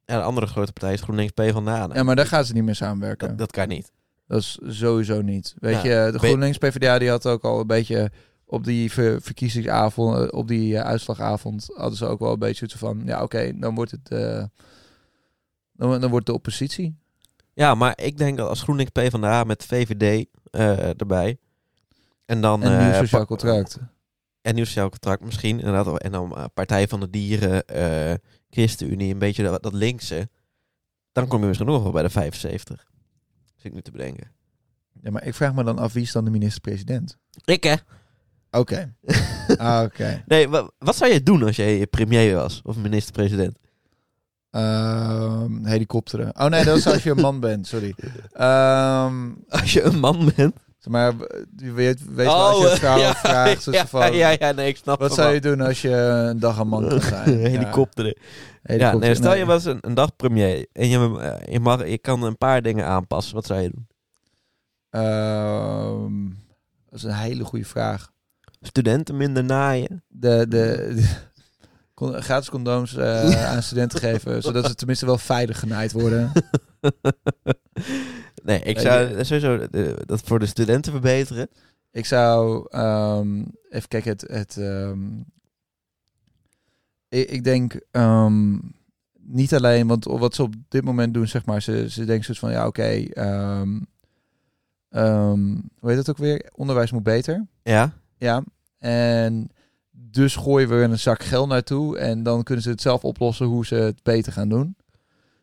Speaker 3: ja, de andere grote partij is GroenLinks PvdA.
Speaker 2: Ja, maar daar gaan ze niet meer samenwerken.
Speaker 3: dat,
Speaker 2: Dat,
Speaker 3: dat kan niet.
Speaker 2: is sowieso niet. Weet
Speaker 3: Ja,
Speaker 2: je,
Speaker 3: we-
Speaker 2: de GroenLinks-PVDA die had ook al een beetje op die ver- verkiezingsavond, eh, op die eh, uitslagavond, hadden ze ook wel een beetje zoiets van... Ja, oké, dan wordt het... eh, dan, dan wordt de oppositie.
Speaker 3: Ja, maar ik denk dat als GroenLinks PvdA met VVD eh, erbij... En dan...
Speaker 2: En een
Speaker 3: eh,
Speaker 2: nieuw sociaal
Speaker 3: pa-
Speaker 2: contract.
Speaker 3: En nieuw sociaal contract misschien. Inderdaad, wel. en dan eh, Partij van de Dieren, eh, ChristenUnie, een beetje dat, dat linkse. Dan kom je misschien nog wel bij de 75. Zit ik nu te bedenken.
Speaker 2: Ja, maar ik vraag me dan af wie is dan de minister-president?
Speaker 3: Ik hè?
Speaker 2: Oké. Ah, Oké.
Speaker 3: Nee, wa- wat zou je doen als jij premier was? Of minister-president?
Speaker 2: Ehm, helikopteren. Oh nee, dat is als je een man bent, sorry. Ehm,
Speaker 3: Als je een man bent?
Speaker 2: zeg maar je weet, weet wel, als je een
Speaker 3: eh,
Speaker 2: vrouw
Speaker 3: ja,
Speaker 2: vraagt, zo
Speaker 3: ja,
Speaker 2: van,
Speaker 3: ja, ja, nee, ik snap
Speaker 2: wat
Speaker 3: hem
Speaker 2: zou
Speaker 3: wel.
Speaker 2: je doen als je een dag een man kan zijn? Ja,
Speaker 3: Helikopteren. Ja,
Speaker 2: helikopter,
Speaker 3: nee, stel
Speaker 2: nee.
Speaker 3: je was een, een dag premier en je, eh, je, mag, je kan een paar dingen aanpassen. Wat zou je doen?
Speaker 2: Ehm, dat is een hele goede vraag.
Speaker 3: Studenten minder naaien?
Speaker 2: De, de, de- con- gratis condooms eh, aan studenten geven, zodat ze tenminste wel veilig genaaid worden.
Speaker 3: Nee, ik
Speaker 2: Eh,
Speaker 3: zou sowieso eh, dat voor de studenten verbeteren.
Speaker 2: Ik zou ehm, even kijken, het. het ehm, ik, ik denk ehm, niet alleen, want wat ze op dit moment doen, zeg maar, ze, ze denken soort van ja, oké. ehm, ehm, hoe heet dat ook weer? Onderwijs moet beter.
Speaker 3: Ja.
Speaker 2: Ja. En dus gooien we er een zak geld naartoe en dan kunnen ze het zelf oplossen hoe ze het beter gaan doen.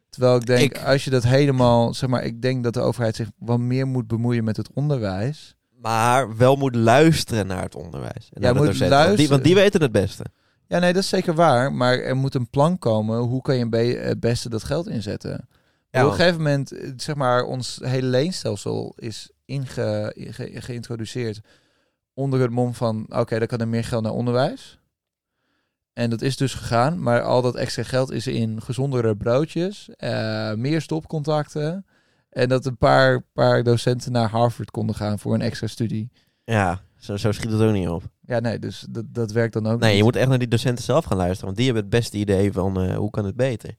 Speaker 2: Terwijl ik denk,
Speaker 3: Ik-
Speaker 2: als je dat helemaal, zeg maar, ik denk dat de overheid zich wat meer moet bemoeien met het onderwijs.
Speaker 3: Maar wel moet luisteren naar het onderwijs. En
Speaker 2: Ja,
Speaker 3: naar de
Speaker 2: moet
Speaker 3: docenten, want die- Want die,
Speaker 2: luisteren.
Speaker 3: weten het beste.
Speaker 2: Ja, nee, dat is zeker waar. Maar er moet een plan komen. Hoe kan je een be- het beste dat geld inzetten?
Speaker 3: Ja,
Speaker 2: op een
Speaker 3: want-
Speaker 2: gegeven moment, eh, zeg maar, ons hele leenstelsel is inge- ge- geïntroduceerd onder het mom van, oké, dan kan er meer geld naar onderwijs. En dat is dus gegaan, maar al dat extra geld is in gezondere broodjes, eh, meer stopcontacten. En dat een paar, paar docenten naar Harvard konden gaan voor een extra studie.
Speaker 3: ja zo, zo schiet het ook niet op.
Speaker 2: Ja, nee, dus dat, dat werkt dan ook
Speaker 3: Nee,
Speaker 2: niet.
Speaker 3: je moet echt naar die docenten zelf gaan luisteren. Want die hebben het beste idee van eh, hoe kan het beter.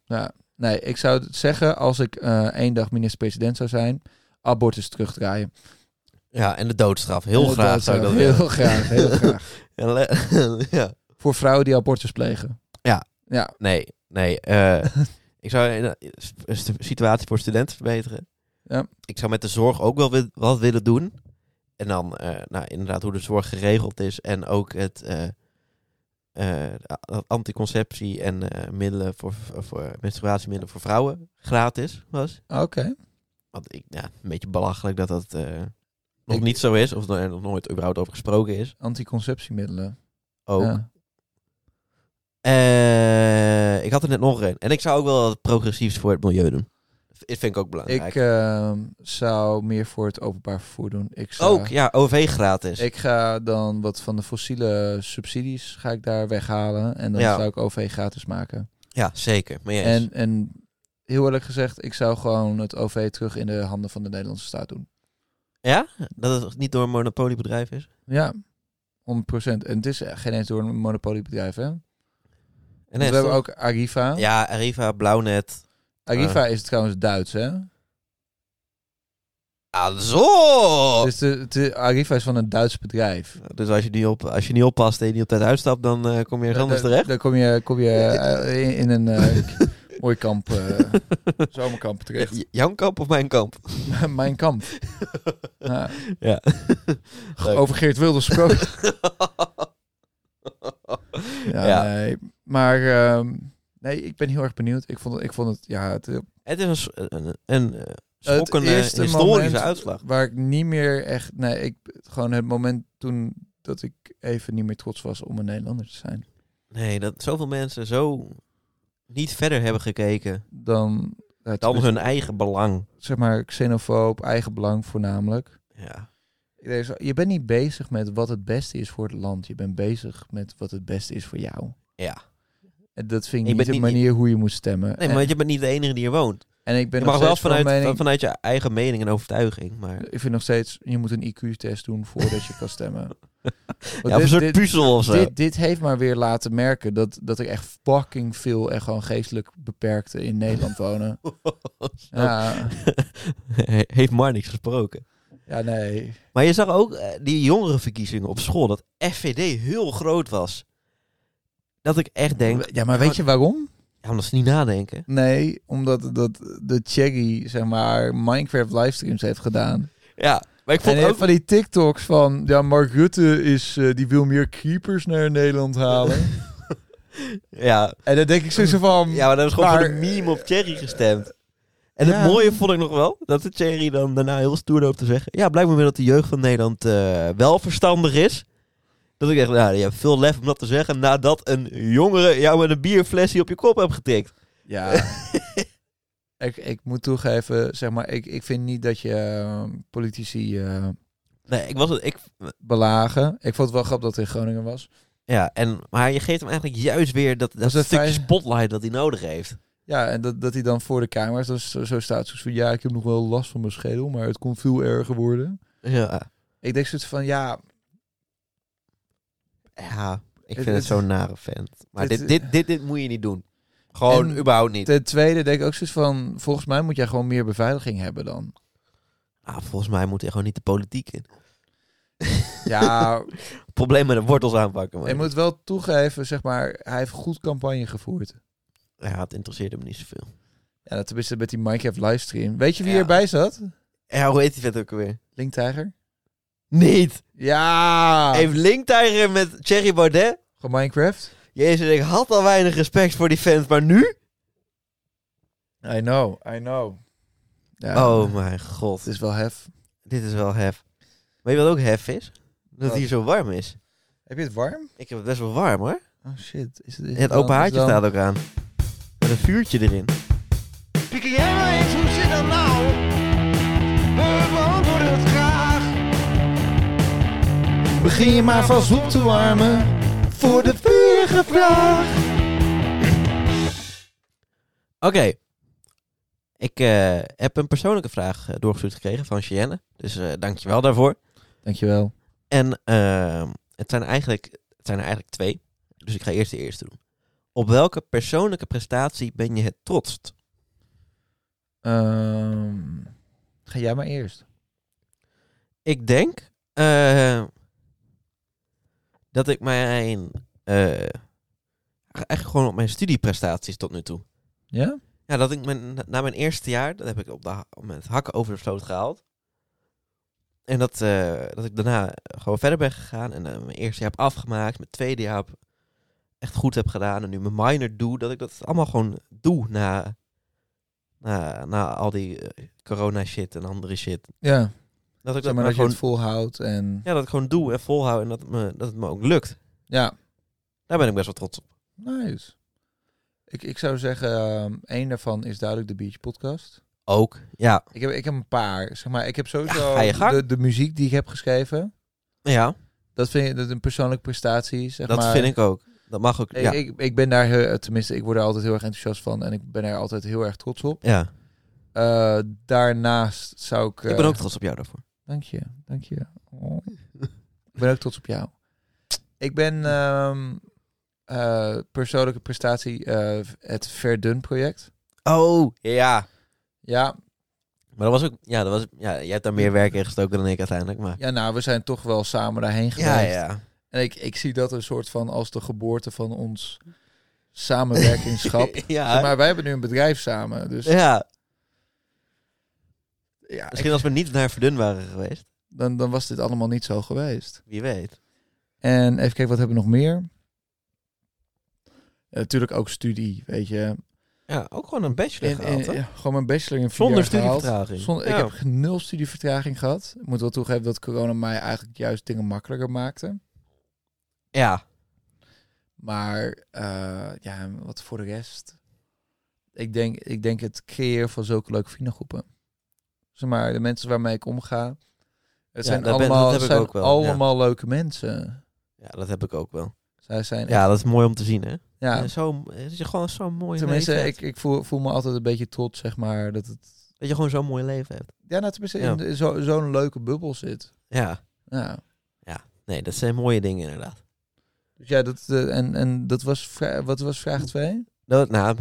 Speaker 2: Nee, ik zou het zeggen als ik eh één dag minister-president zou zijn, abortus terugdraaien.
Speaker 3: Ja, en de doodstraf. Heel
Speaker 2: Eh,
Speaker 3: graag
Speaker 2: dat
Speaker 3: zou ik dat
Speaker 2: Heel
Speaker 3: willen.
Speaker 2: graag, heel graag.
Speaker 3: En le- ja.
Speaker 2: Voor vrouwen die abortus plegen.
Speaker 3: Ja.
Speaker 2: Ja,
Speaker 3: Nee, nee. eh, ik zou in- een st- situatie voor studenten verbeteren.
Speaker 2: Ja.
Speaker 3: Ik zou met de zorg ook wel wi- wat willen doen. En dan eh, nou, inderdaad hoe de zorg geregeld is. En ook het eh, eh, dat anticonceptie en eh, middelen voor, voor eh, menstruatiemiddelen voor vrouwen gratis was.
Speaker 2: oké.
Speaker 3: Want ik, ja, een beetje belachelijk dat dat eh, nog
Speaker 2: Ik-
Speaker 3: niet zo is. Of er nog nooit überhaupt over gesproken is.
Speaker 2: Anticonceptiemiddelen.
Speaker 3: Ook.
Speaker 2: Ja.
Speaker 3: Eh, ik had er net nog een. En ik zou ook wel wat progressiefs voor het milieu doen. Dat vind ik ook belangrijk.
Speaker 2: Ik ehm, zou meer voor het openbaar vervoer doen. Ik zou,
Speaker 3: ook, ja, OV gratis.
Speaker 2: eh, Ik ga dan wat van de fossiele subsidies ga ik daar weghalen. En dan
Speaker 3: Ja.
Speaker 2: zou ik OV gratis maken.
Speaker 3: Ja, zeker. Maar yes.
Speaker 2: En, en heel eerlijk gezegd, ik zou gewoon het OV terug in de handen van de Nederlandse staat doen.
Speaker 3: Ja? Dat het niet door een monopoliebedrijf is?
Speaker 2: Ja, 100%. En het is eh, geen eens door een monopoliebedrijf, hè? Want
Speaker 3: En
Speaker 2: we hebben ook Arriva.
Speaker 3: Ja, Arriva, Blauwnet. Oh.
Speaker 2: Arriva is trouwens Duits, hè?
Speaker 3: Also! Dus,
Speaker 2: Dus de, de Arriva is van een Duits bedrijf.
Speaker 3: als, je niet op, als je niet oppast en je niet op tijd uitstapt, dan eh, kom je ergens anders terecht.
Speaker 2: Dan kom je, kom je eh, in, in een eh, mooi kamp, eh, zomerkamp terecht.
Speaker 3: J- Jouw kamp of mijn kamp?
Speaker 2: Mijn kamp. Ja.
Speaker 3: Ja. Leuk.
Speaker 2: Over Geert Wilders gesproken. ja,
Speaker 3: Ja.
Speaker 2: Nee. Maar ehm, nee, ik ben heel erg benieuwd. Ik vond het, ik vond het ja, het,
Speaker 3: Het is een, s- een, een eh,
Speaker 2: Het
Speaker 3: schokkende
Speaker 2: eerste
Speaker 3: historische
Speaker 2: moment-
Speaker 3: uitslag.
Speaker 2: waar ik niet meer echt, nee, ik, gewoon het moment toen dat ik even niet meer trots was om een Nederlander te zijn.
Speaker 3: Nee, dat zoveel mensen zo niet verder hebben gekeken
Speaker 2: Dan, eh,
Speaker 3: dan hun eigen belang.
Speaker 2: zeg maar, xenofoob, eigen belang voornamelijk.
Speaker 3: Ja.
Speaker 2: Er is- Je bent niet bezig met wat het beste is voor het land. Je bent bezig met wat het beste is voor jou.
Speaker 3: ja.
Speaker 2: En dat vind ik
Speaker 3: Ik
Speaker 2: niet de
Speaker 3: ben niet-
Speaker 2: manier hoe je moet stemmen.
Speaker 3: Nee,
Speaker 2: En-
Speaker 3: maar je bent niet de enige die hier woont.
Speaker 2: En ik ben
Speaker 3: Je
Speaker 2: nog
Speaker 3: mag wel
Speaker 2: steeds
Speaker 3: vanuit,
Speaker 2: van mening...
Speaker 3: vanuit je eigen mening en overtuiging. Maar
Speaker 2: Ik vind nog steeds, je moet een IQ-test doen voordat je kan stemmen. Want
Speaker 3: ja, of een soort puzzel of zo.
Speaker 2: dit, dit heeft maar weer laten merken dat, dat er echt fucking veel en gewoon geestelijk beperkten in Nederland wonen. Ja,
Speaker 3: He- Heeft maar niks gesproken.
Speaker 2: ja nee.
Speaker 3: Maar je zag ook eh, die jongerenverkiezingen op school, dat FVD heel groot was. Dat ik echt denk, Oh.
Speaker 2: Ja, maar weet je waarom?
Speaker 3: ja, omdat ze niet nadenken.
Speaker 2: Nee, omdat dat de Chaggy, zeg maar, Minecraft livestreams heeft gedaan.
Speaker 3: Ja, maar ik
Speaker 2: En
Speaker 3: vond
Speaker 2: hij
Speaker 3: ook...
Speaker 2: heeft van die TikToks van, ja, Mark Rutte is, eh, die wil meer creepers naar Nederland halen.
Speaker 3: Ja,
Speaker 2: en dan denk ik zo zo van,
Speaker 3: ja, maar dat is gewoon
Speaker 2: Maar-
Speaker 3: voor de meme op Thierry gestemd. En het
Speaker 2: Ja.
Speaker 3: mooie vond ik nog wel, dat de Thierry dan daarna heel stoer loopt te zeggen... Ja, blijkbaar weer dat de jeugd van Nederland eh, wel verstandig is. Dat ik echt, nou, je hebt veel lef om dat te zeggen nadat een jongere jou met een bierflesje op je kop hebt getikt.
Speaker 2: Ja. ik, ik moet toegeven, zeg maar, ik, ik vind niet dat je eh, politici eh,
Speaker 3: Nee, ik was het... Ik,
Speaker 2: belagen. Ik vond het wel grappig dat het in Groningen was.
Speaker 3: Ja, en, maar je geeft hem eigenlijk juist weer dat, dat
Speaker 2: Was het
Speaker 3: stukje
Speaker 2: vrij-
Speaker 3: spotlight dat hij nodig heeft.
Speaker 2: Ja, en dat, dat hij dan voor de camera's dat zo, zo staat. Zo van, ja, ik heb nog wel last van mijn schedel, maar het kon veel erger worden.
Speaker 3: Ja.
Speaker 2: Ik denk zoiets van, ja,
Speaker 3: Ja, ik
Speaker 2: Het-
Speaker 3: vind het
Speaker 2: het-
Speaker 3: zo'n nare vent. Maar
Speaker 2: het-
Speaker 3: dit, dit, dit, dit moet je niet doen. Gewoon
Speaker 2: En-
Speaker 3: überhaupt niet.
Speaker 2: ten tweede denk ik ook zoiets van, volgens mij moet jij gewoon meer beveiliging hebben dan.
Speaker 3: Ah, volgens mij moet hij gewoon niet de politiek in.
Speaker 2: Ja,
Speaker 3: Probleem met de wortels aanpakken.
Speaker 2: je
Speaker 3: Man.
Speaker 2: moet wel toegeven, zeg maar, hij heeft goed campagne gevoerd.
Speaker 3: Ja, het interesseert hem niet zoveel.
Speaker 2: Ja, dat tenminste met die Minecraft livestream. Weet je wie
Speaker 3: Ja.
Speaker 2: erbij zat?
Speaker 3: Ja, hoe heet die vet ook alweer?
Speaker 2: Link Tiger?
Speaker 3: Niet!
Speaker 2: Ja!
Speaker 3: Heeft Linktijger met Thierry Baudet?
Speaker 2: Gewoon Minecraft?
Speaker 3: Jezus, ik had al weinig respect voor die fans, maar nu?
Speaker 2: I know, I know.
Speaker 3: Oh mijn god.
Speaker 2: Het is wel hef.
Speaker 3: Dit is wel hef. Weet je wat ook hef is? Dat het
Speaker 2: Wat?
Speaker 3: hier zo warm is.
Speaker 2: Heb je het warm?
Speaker 3: Ik heb het best wel warm hoor.
Speaker 2: Oh shit. Is het, is
Speaker 3: Het open haartje staat ook aan. Met een vuurtje erin.
Speaker 5: Pik jij maar eens, hoe zit dat nou? We beantwoorden het graag.
Speaker 2: Begin je maar vast op te warmen.
Speaker 5: Voor de vurige vraag.
Speaker 3: Oké. Ik eh, heb een persoonlijke vraag eh, doorgestuurd gekregen van Cheyenne. Dus eh dankjewel daarvoor.
Speaker 2: Dankjewel.
Speaker 3: En ehm, het, zijn eigenlijk, het zijn er eigenlijk twee. Dus ik ga eerst de eerste doen. Op welke persoonlijke prestatie ben je het trotst?
Speaker 2: Ehm, ga jij maar eerst.
Speaker 3: Ik denk eh, dat ik mijn... eh, eigenlijk gewoon op mijn studieprestaties tot nu toe.
Speaker 2: Ja?
Speaker 3: Ja, dat ik mijn, na mijn eerste jaar, dat heb ik op de, ha- met hakken over de sloot gehaald. En dat, eh, dat ik daarna gewoon verder ben gegaan en eh, mijn eerste jaar heb afgemaakt, mijn tweede jaar heb echt goed heb gedaan en nu mijn minor doe, dat ik dat allemaal gewoon doe na, na, na al die eh, corona shit en andere shit.
Speaker 2: Ja.
Speaker 3: Dat ik
Speaker 2: Zeg
Speaker 3: dat,
Speaker 2: maar
Speaker 3: maar
Speaker 2: dat je
Speaker 3: gewoon,
Speaker 2: het volhoudt en...
Speaker 3: ja, dat ik gewoon doe en volhoud en dat, het me, dat het me ook lukt.
Speaker 2: Ja.
Speaker 3: Daar ben ik best wel trots op.
Speaker 2: Nice. Ik, ik zou zeggen, ehm, één daarvan is duidelijk de Beach Podcast.
Speaker 3: Ook, ja.
Speaker 2: Ik heb, ik heb een paar. Zeg maar, ik heb
Speaker 3: Ja,
Speaker 2: sowieso
Speaker 3: ga je gang.
Speaker 2: de, de muziek die ik heb geschreven.
Speaker 3: Ja,
Speaker 2: Dat vind ik dat is een persoonlijke prestatie. Zeg
Speaker 3: dat
Speaker 2: maar.
Speaker 3: vind ik ook. Dat mag ook,
Speaker 2: Ik,
Speaker 3: ja.
Speaker 2: ik, ik ben daar, heel- tenminste, ik word er altijd heel erg enthousiast van. En ik ben er altijd heel erg trots op.
Speaker 3: ja.
Speaker 2: Eh, daarnaast zou ik... eh,
Speaker 3: Ik ben ook trots op jou daarvoor.
Speaker 2: Dank je, dank je. Oh. ik ben ook trots op jou. Ik ben ehm, eh, persoonlijke prestatie eh, het Verdun project.
Speaker 3: Oh, ja.
Speaker 2: Ja,
Speaker 3: Maar dat was ook, ja, dat was, ja, jij hebt daar meer werk in gestoken dan ik uiteindelijk. Maar
Speaker 2: Ja, nou, we zijn toch wel samen daarheen geweest.
Speaker 3: ja, ja.
Speaker 2: En ik, ik zie dat een soort van als de geboorte van ons samenwerkingschap.
Speaker 3: ja,
Speaker 2: Zeg maar wij hebben nu een bedrijf samen. Dus
Speaker 3: ja,
Speaker 2: ja, ik-
Speaker 3: misschien als we niet naar Verdun waren geweest.
Speaker 2: dan, dan was dit allemaal niet zo geweest.
Speaker 3: Wie weet.
Speaker 2: En even kijken, wat hebben we nog meer? Eh, Natuurlijk ook studie, weet je.
Speaker 3: Ja, ook gewoon een bachelor
Speaker 2: In, in-
Speaker 3: gehaald, hè?
Speaker 2: ja, gewoon mijn bachelor in vier
Speaker 3: Zonder
Speaker 2: jaar gehaald.
Speaker 3: studievertraging.
Speaker 2: Zonder,
Speaker 3: Ja.
Speaker 2: Ik heb nul studievertraging gehad. Ik moet wel toegeven dat corona mij eigenlijk juist dingen makkelijker maakte.
Speaker 3: Ja,
Speaker 2: Maar eh, ja, en wat voor de rest? Ik denk, ik denk het creëren van zulke leuke vriendengroepen. Zeg maar, de mensen waarmee ik omga. Het
Speaker 3: Ja,
Speaker 2: zijn
Speaker 3: dat ben- dat
Speaker 2: allemaal,
Speaker 3: heb
Speaker 2: het
Speaker 3: ik
Speaker 2: zijn
Speaker 3: ook wel, ja.
Speaker 2: allemaal leuke mensen.
Speaker 3: ja, dat heb ik ook wel.
Speaker 2: Zij zijn
Speaker 3: Ja, dat is mooi om te zien, hè?
Speaker 2: ja,
Speaker 3: Ja, Zo, het is gewoon zo'n mooi
Speaker 2: Tenminste,
Speaker 3: leven.
Speaker 2: ik, ik voel, voel me altijd een beetje trots, zeg maar. Dat het,
Speaker 3: Dat je gewoon zo'n mooi leven hebt.
Speaker 2: ja, nou, tenminste,
Speaker 3: Ja.
Speaker 2: in de- zo- zo'n leuke bubbel zit.
Speaker 3: Ja,
Speaker 2: Ja.
Speaker 3: nee, dat zijn mooie dingen inderdaad.
Speaker 2: Dus ja, dat, eh, en, en dat was, vra- wat was vraag 2?
Speaker 3: Dat, nou,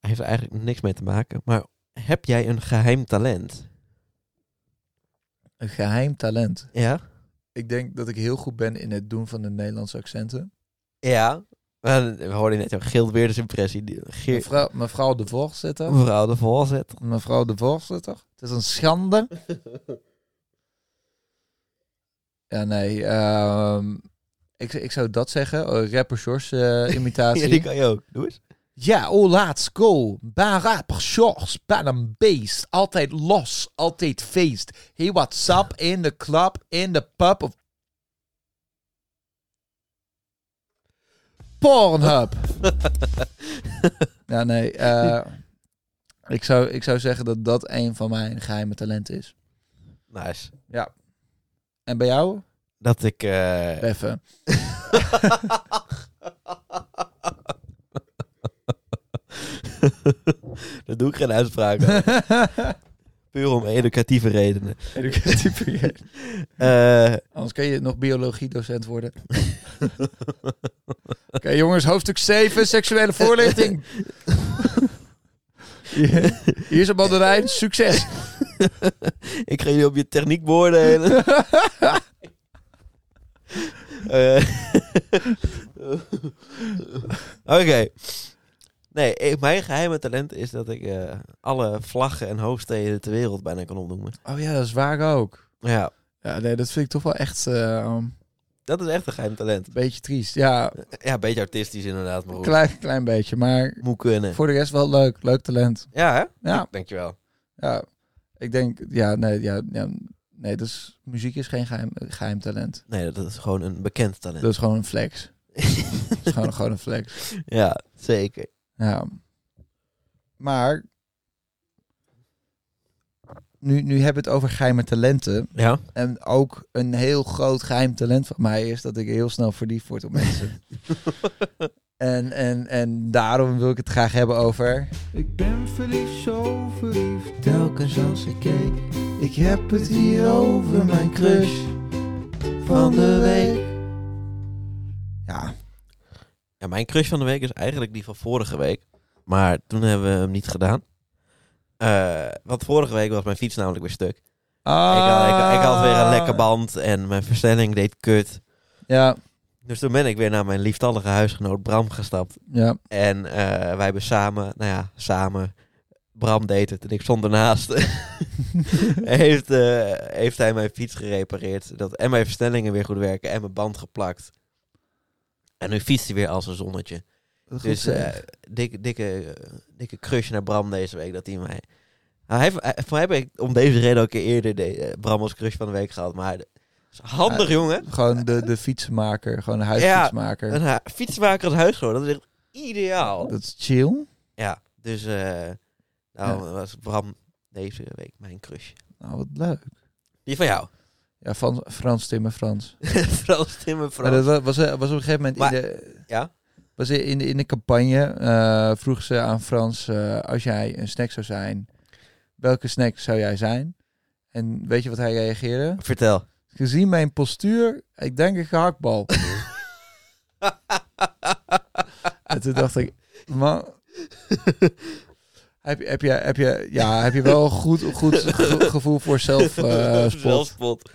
Speaker 3: heeft er eigenlijk niks mee te maken. Maar heb jij een geheim talent?
Speaker 2: Een geheim talent.
Speaker 3: Ja.
Speaker 2: Ik denk dat ik heel goed ben in het doen van de Nederlandse accenten.
Speaker 3: Ja. Eh, We hoorden net jouw Gildweerders impressie. Die- Geer-
Speaker 2: Mevrouw, mevrouw de voorzitter.
Speaker 3: Mevrouw de voorzitter.
Speaker 2: Mevrouw de voorzitter. Het is een schande. Ja, nee. ehm, ik, ik zou dat zeggen. Eh, rapper George eh, imitatie.
Speaker 3: Ja, die kan je ook. Doe eens.
Speaker 2: Ja, oh, let's go. Ben rapper, shorts, ben een beest. Altijd los, altijd feest. Hey, what's up in de club, in de pub of... Pornhub. ja, nee. eh, ik, zou, ik zou zeggen dat dat een van mijn geheime talenten is.
Speaker 3: Nice.
Speaker 2: En bij jou?
Speaker 3: Dat ik... eh,
Speaker 2: Even.
Speaker 3: Daar doe ik geen uitspraak over. Puur om educatieve redenen. Eh,
Speaker 2: Anders kun je nog biologiedocent worden. Oké, jongens, hoofdstuk 7, seksuele voorlichting. Hier hier is een mandarijn, succes.
Speaker 3: ik ga jullie op je techniek beoordelen. Eh, Oké. Nee, ik- mijn geheime talent is dat ik eh, alle vlaggen en hoofdsteden ter wereld bijna kan opnoemen.
Speaker 2: Oh ja, dat is waar ook.
Speaker 3: Ja,
Speaker 2: Ja, nee, dat vind ik toch wel echt eh, een
Speaker 3: dat is echt een geheim talent.
Speaker 2: beetje triest. Ja,
Speaker 3: Ja, een beetje artistisch inderdaad, maar
Speaker 2: een
Speaker 3: goed.
Speaker 2: klein, klein beetje, maar
Speaker 3: Moet kunnen.
Speaker 2: voor de rest wel leuk. Leuk talent.
Speaker 3: Ja, hè?
Speaker 2: Ja,
Speaker 3: Dankjewel.
Speaker 2: ja. ik denk, ja, nee, ja, ja, nee dat is, muziek is geen geheim, geheim talent.
Speaker 3: Nee, dat is gewoon een bekend talent.
Speaker 2: Dat is gewoon een flex. Dat is gewoon, gewoon een flex.
Speaker 3: ja, zeker.
Speaker 2: Ja. Maar. Nu, nu hebben we het over geheime talenten.
Speaker 3: Ja?
Speaker 2: En ook een heel groot geheim talent van mij is dat ik heel snel verliefd word op mensen. en, en, en daarom wil ik het graag hebben over.
Speaker 4: Ik ben verliefd, zo verliefd.
Speaker 2: Telkens als ik keek, ik heb het hier over mijn crush van de week. Ja,
Speaker 3: Ja, mijn crush van de week is eigenlijk die van vorige week. Maar toen hebben we hem niet gedaan. Eh, want vorige week was mijn fiets namelijk weer stuk. Ik, had, ik, ik had weer een
Speaker 2: Ah.
Speaker 3: lekker band en mijn versnelling deed kut.
Speaker 2: Ja,
Speaker 3: Dus toen ben ik weer naar mijn lieftallige huisgenoot Bram gestapt.
Speaker 2: ja.
Speaker 3: En eh, wij hebben samen, nou ja, samen. Bram deed het en ik stond ernaast. heeft, eh, heeft hij mijn fiets gerepareerd. Dat, en mijn versnellingen weer goed werken. En mijn band geplakt. En nu fietst hij weer als een zonnetje. Dus eh, dikke, dikke, eh, dikke crush naar Bram deze week. Dat hij mij. Nou, hij, heeft- hij- voor mij heb ik om deze reden ook een keer eerder de, eh, Bram als crush van de week gehad. Maar hij is handig, jongen.
Speaker 2: Gewoon de, de fietsmaker, gewoon de huisfietsmaker.
Speaker 3: Een ha- fietsmaker als huisgenoot, dat is echt ideaal.
Speaker 2: Dat is chill.
Speaker 3: Ja, dus eh nou, was Bram deze week mijn crush.
Speaker 2: Nou, wat leuk.
Speaker 3: Die van jou.
Speaker 2: Ja, van Frans Timmer Frans.
Speaker 3: Frans Timmer, Frans.
Speaker 2: Maar dat wa- was, eh, was op een gegeven moment
Speaker 3: Maar-
Speaker 2: in, de,
Speaker 3: Ja?
Speaker 2: was in, in de, in de campagne. eh, vroeg ze aan Frans, eh, als jij een snack zou zijn, welke snack zou jij zijn? En weet je wat hij reageerde?
Speaker 3: Vertel.
Speaker 2: Gezien mijn postuur, ik denk een gehaktbal. en toen dacht ik, man... Heb, je- heb, je, heb, je, ja, heb je wel een goed, goed ge- gevoel voor zelfspot?
Speaker 3: Zelfspot.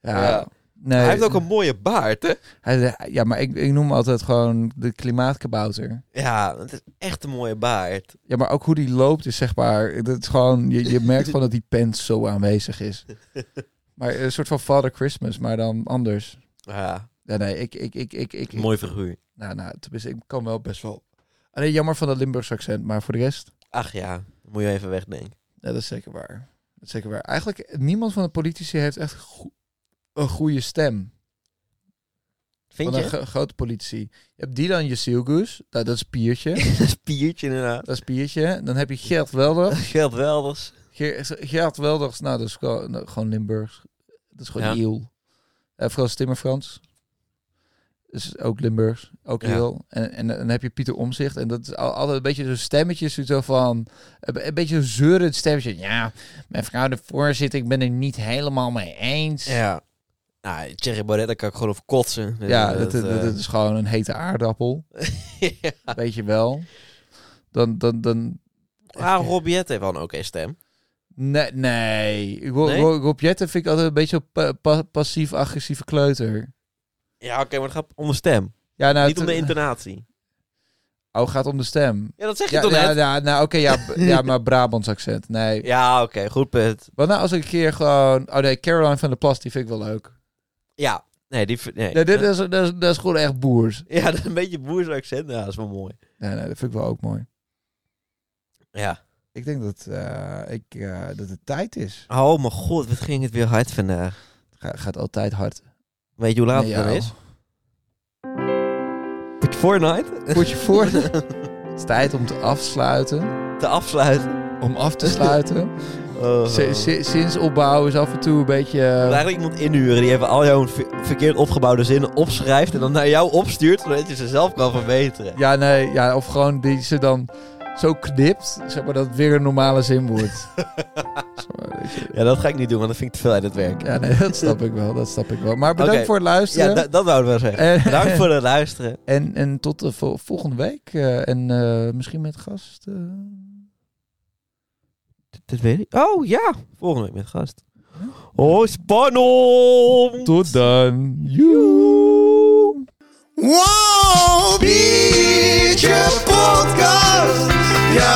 Speaker 2: ja.
Speaker 3: ja.
Speaker 2: Nee,
Speaker 3: Hij heeft ook een mooie baard, hè?
Speaker 2: hij- ja, maar ik, ik noem hem altijd gewoon de klimaatkabouter.
Speaker 3: Ja, het is echt een mooie baard.
Speaker 2: Ja, maar ook hoe die loopt is zeg maar... Dat is gewoon, je, je merkt gewoon dat die pens zo aanwezig is. Maar een soort van Father Christmas, maar dan anders.
Speaker 3: Ja,
Speaker 2: Ja, nee, ik... ik, ik, ik, ik, ik-
Speaker 3: mooi figuur.
Speaker 2: nou, nou, tenminste, ik kan wel best wel... Alleen jammer van dat Limburgs accent, maar voor de rest...
Speaker 3: Ach ja, moet je even wegdenken.
Speaker 2: Ja, dat is zeker waar. Dat is zeker waar. Eigenlijk, niemand van de politici heeft echt goe- een goede stem.
Speaker 3: Vind
Speaker 2: van
Speaker 3: je?
Speaker 2: een gro- grote politici. Je hebt Dylan Jezielgoes, nou, dat is Piertje.
Speaker 3: Dat is Piertje inderdaad.
Speaker 2: dat is Piertje. Dan heb je Gert Welder.
Speaker 3: Geld Welders.
Speaker 2: Ger- Gert Welders, nou, dat is gewoon, nou, gewoon Limburgs. Dat is gewoon
Speaker 3: Ja.
Speaker 2: Iel. Eh Frans Timmerfrans. Dat is ook Limburgs, ook
Speaker 3: Ja.
Speaker 2: Iel. En, en dan heb je Pieter Omzicht. En dat is al, altijd een beetje zo'n stemmetje, zoiets zo van... Een, een beetje een zeurend stemmetje. Ja, mijn vrouw de voorzitter, ik ben er niet helemaal mee eens.
Speaker 3: Ja. Nou, Thierry Baudet, daar kan ik gewoon over kotsen. Dus,
Speaker 2: Ja,
Speaker 3: eh,
Speaker 2: dat, dat-
Speaker 3: eh,
Speaker 2: dat is gewoon een hete aardappel,
Speaker 3: ja.
Speaker 2: weet je wel. Dan, dan, dan...
Speaker 3: Ah, Robiette heeft wel een oké stem.
Speaker 2: Nee, nee. Ro-
Speaker 3: Nee?
Speaker 2: Ro- Rob Jetten vind ik altijd een beetje een pa- pa- passief-agressieve kleuter.
Speaker 3: Ja, oké, maar het gaat om de stem.
Speaker 2: Ja, nou,
Speaker 3: Niet om de
Speaker 2: te-
Speaker 3: intonatie.
Speaker 2: Oh, gaat om de stem.
Speaker 3: Ja, dat zeg je
Speaker 2: Ja,
Speaker 3: toch
Speaker 2: ja,
Speaker 3: net?
Speaker 2: ja, nou oké, ja, b- ja, maar Brabants accent, nee.
Speaker 3: Ja, oké, goed punt.
Speaker 2: Maar nou als ik een keer gewoon... Oh nee, Caroline van der Plas, die vind ik wel leuk.
Speaker 3: Ja, nee, die... Nee.
Speaker 2: Nee, dit is, dat, is, dat is gewoon echt boers.
Speaker 3: Ja, dat is een beetje boers accent. Ja, dat is wel mooi.
Speaker 2: Nee, nee, dat vind ik wel ook mooi.
Speaker 3: Ja.
Speaker 2: Ik denk dat, eh, ik, eh, dat het tijd is.
Speaker 3: Oh mijn god, wat ging het weer hard vandaag.
Speaker 2: Ga, gaat altijd hard.
Speaker 3: Weet je hoe laat het
Speaker 2: Nee,
Speaker 3: dan
Speaker 2: joh.
Speaker 3: is? Het Fortnite
Speaker 2: Moet je voor. het is tijd om te afsluiten.
Speaker 3: te afsluiten.
Speaker 2: Om af te sluiten.
Speaker 3: Oh.
Speaker 2: Si- si- Sinds opbouwen is af en toe een beetje...
Speaker 3: Je moet
Speaker 2: eh,
Speaker 3: eigenlijk iemand inhuren die even al jouw ver- verkeerd opgebouwde zinnen opschrijft en dan naar jou opstuurt, zodat je ze zelf kan verbeteren.
Speaker 2: Ja, nee. Ja, of gewoon die ze dan zo knipt, zeg maar, dat het weer een normale zin wordt. Zeg maar, weet je.
Speaker 3: Ja, dat ga ik niet doen, want dat vind ik te veel uit het werk.
Speaker 2: ja, nee, dat snap ik wel. Dat snap ik wel. Maar bedankt
Speaker 3: Oké.
Speaker 2: voor het
Speaker 3: Ja,
Speaker 2: luisteren.
Speaker 3: da- dat wouden we zeggen.
Speaker 2: en,
Speaker 3: Bedankt voor het luisteren.
Speaker 2: en, en tot de vol- volgende week. eh, en eh, misschien met gast. eh.
Speaker 3: Dit, weet ik. Oh ja, volgende week met gast. Oh, spannend!
Speaker 2: Tot dan. Joe.
Speaker 5: Wow, Biertje Podcast. Ja,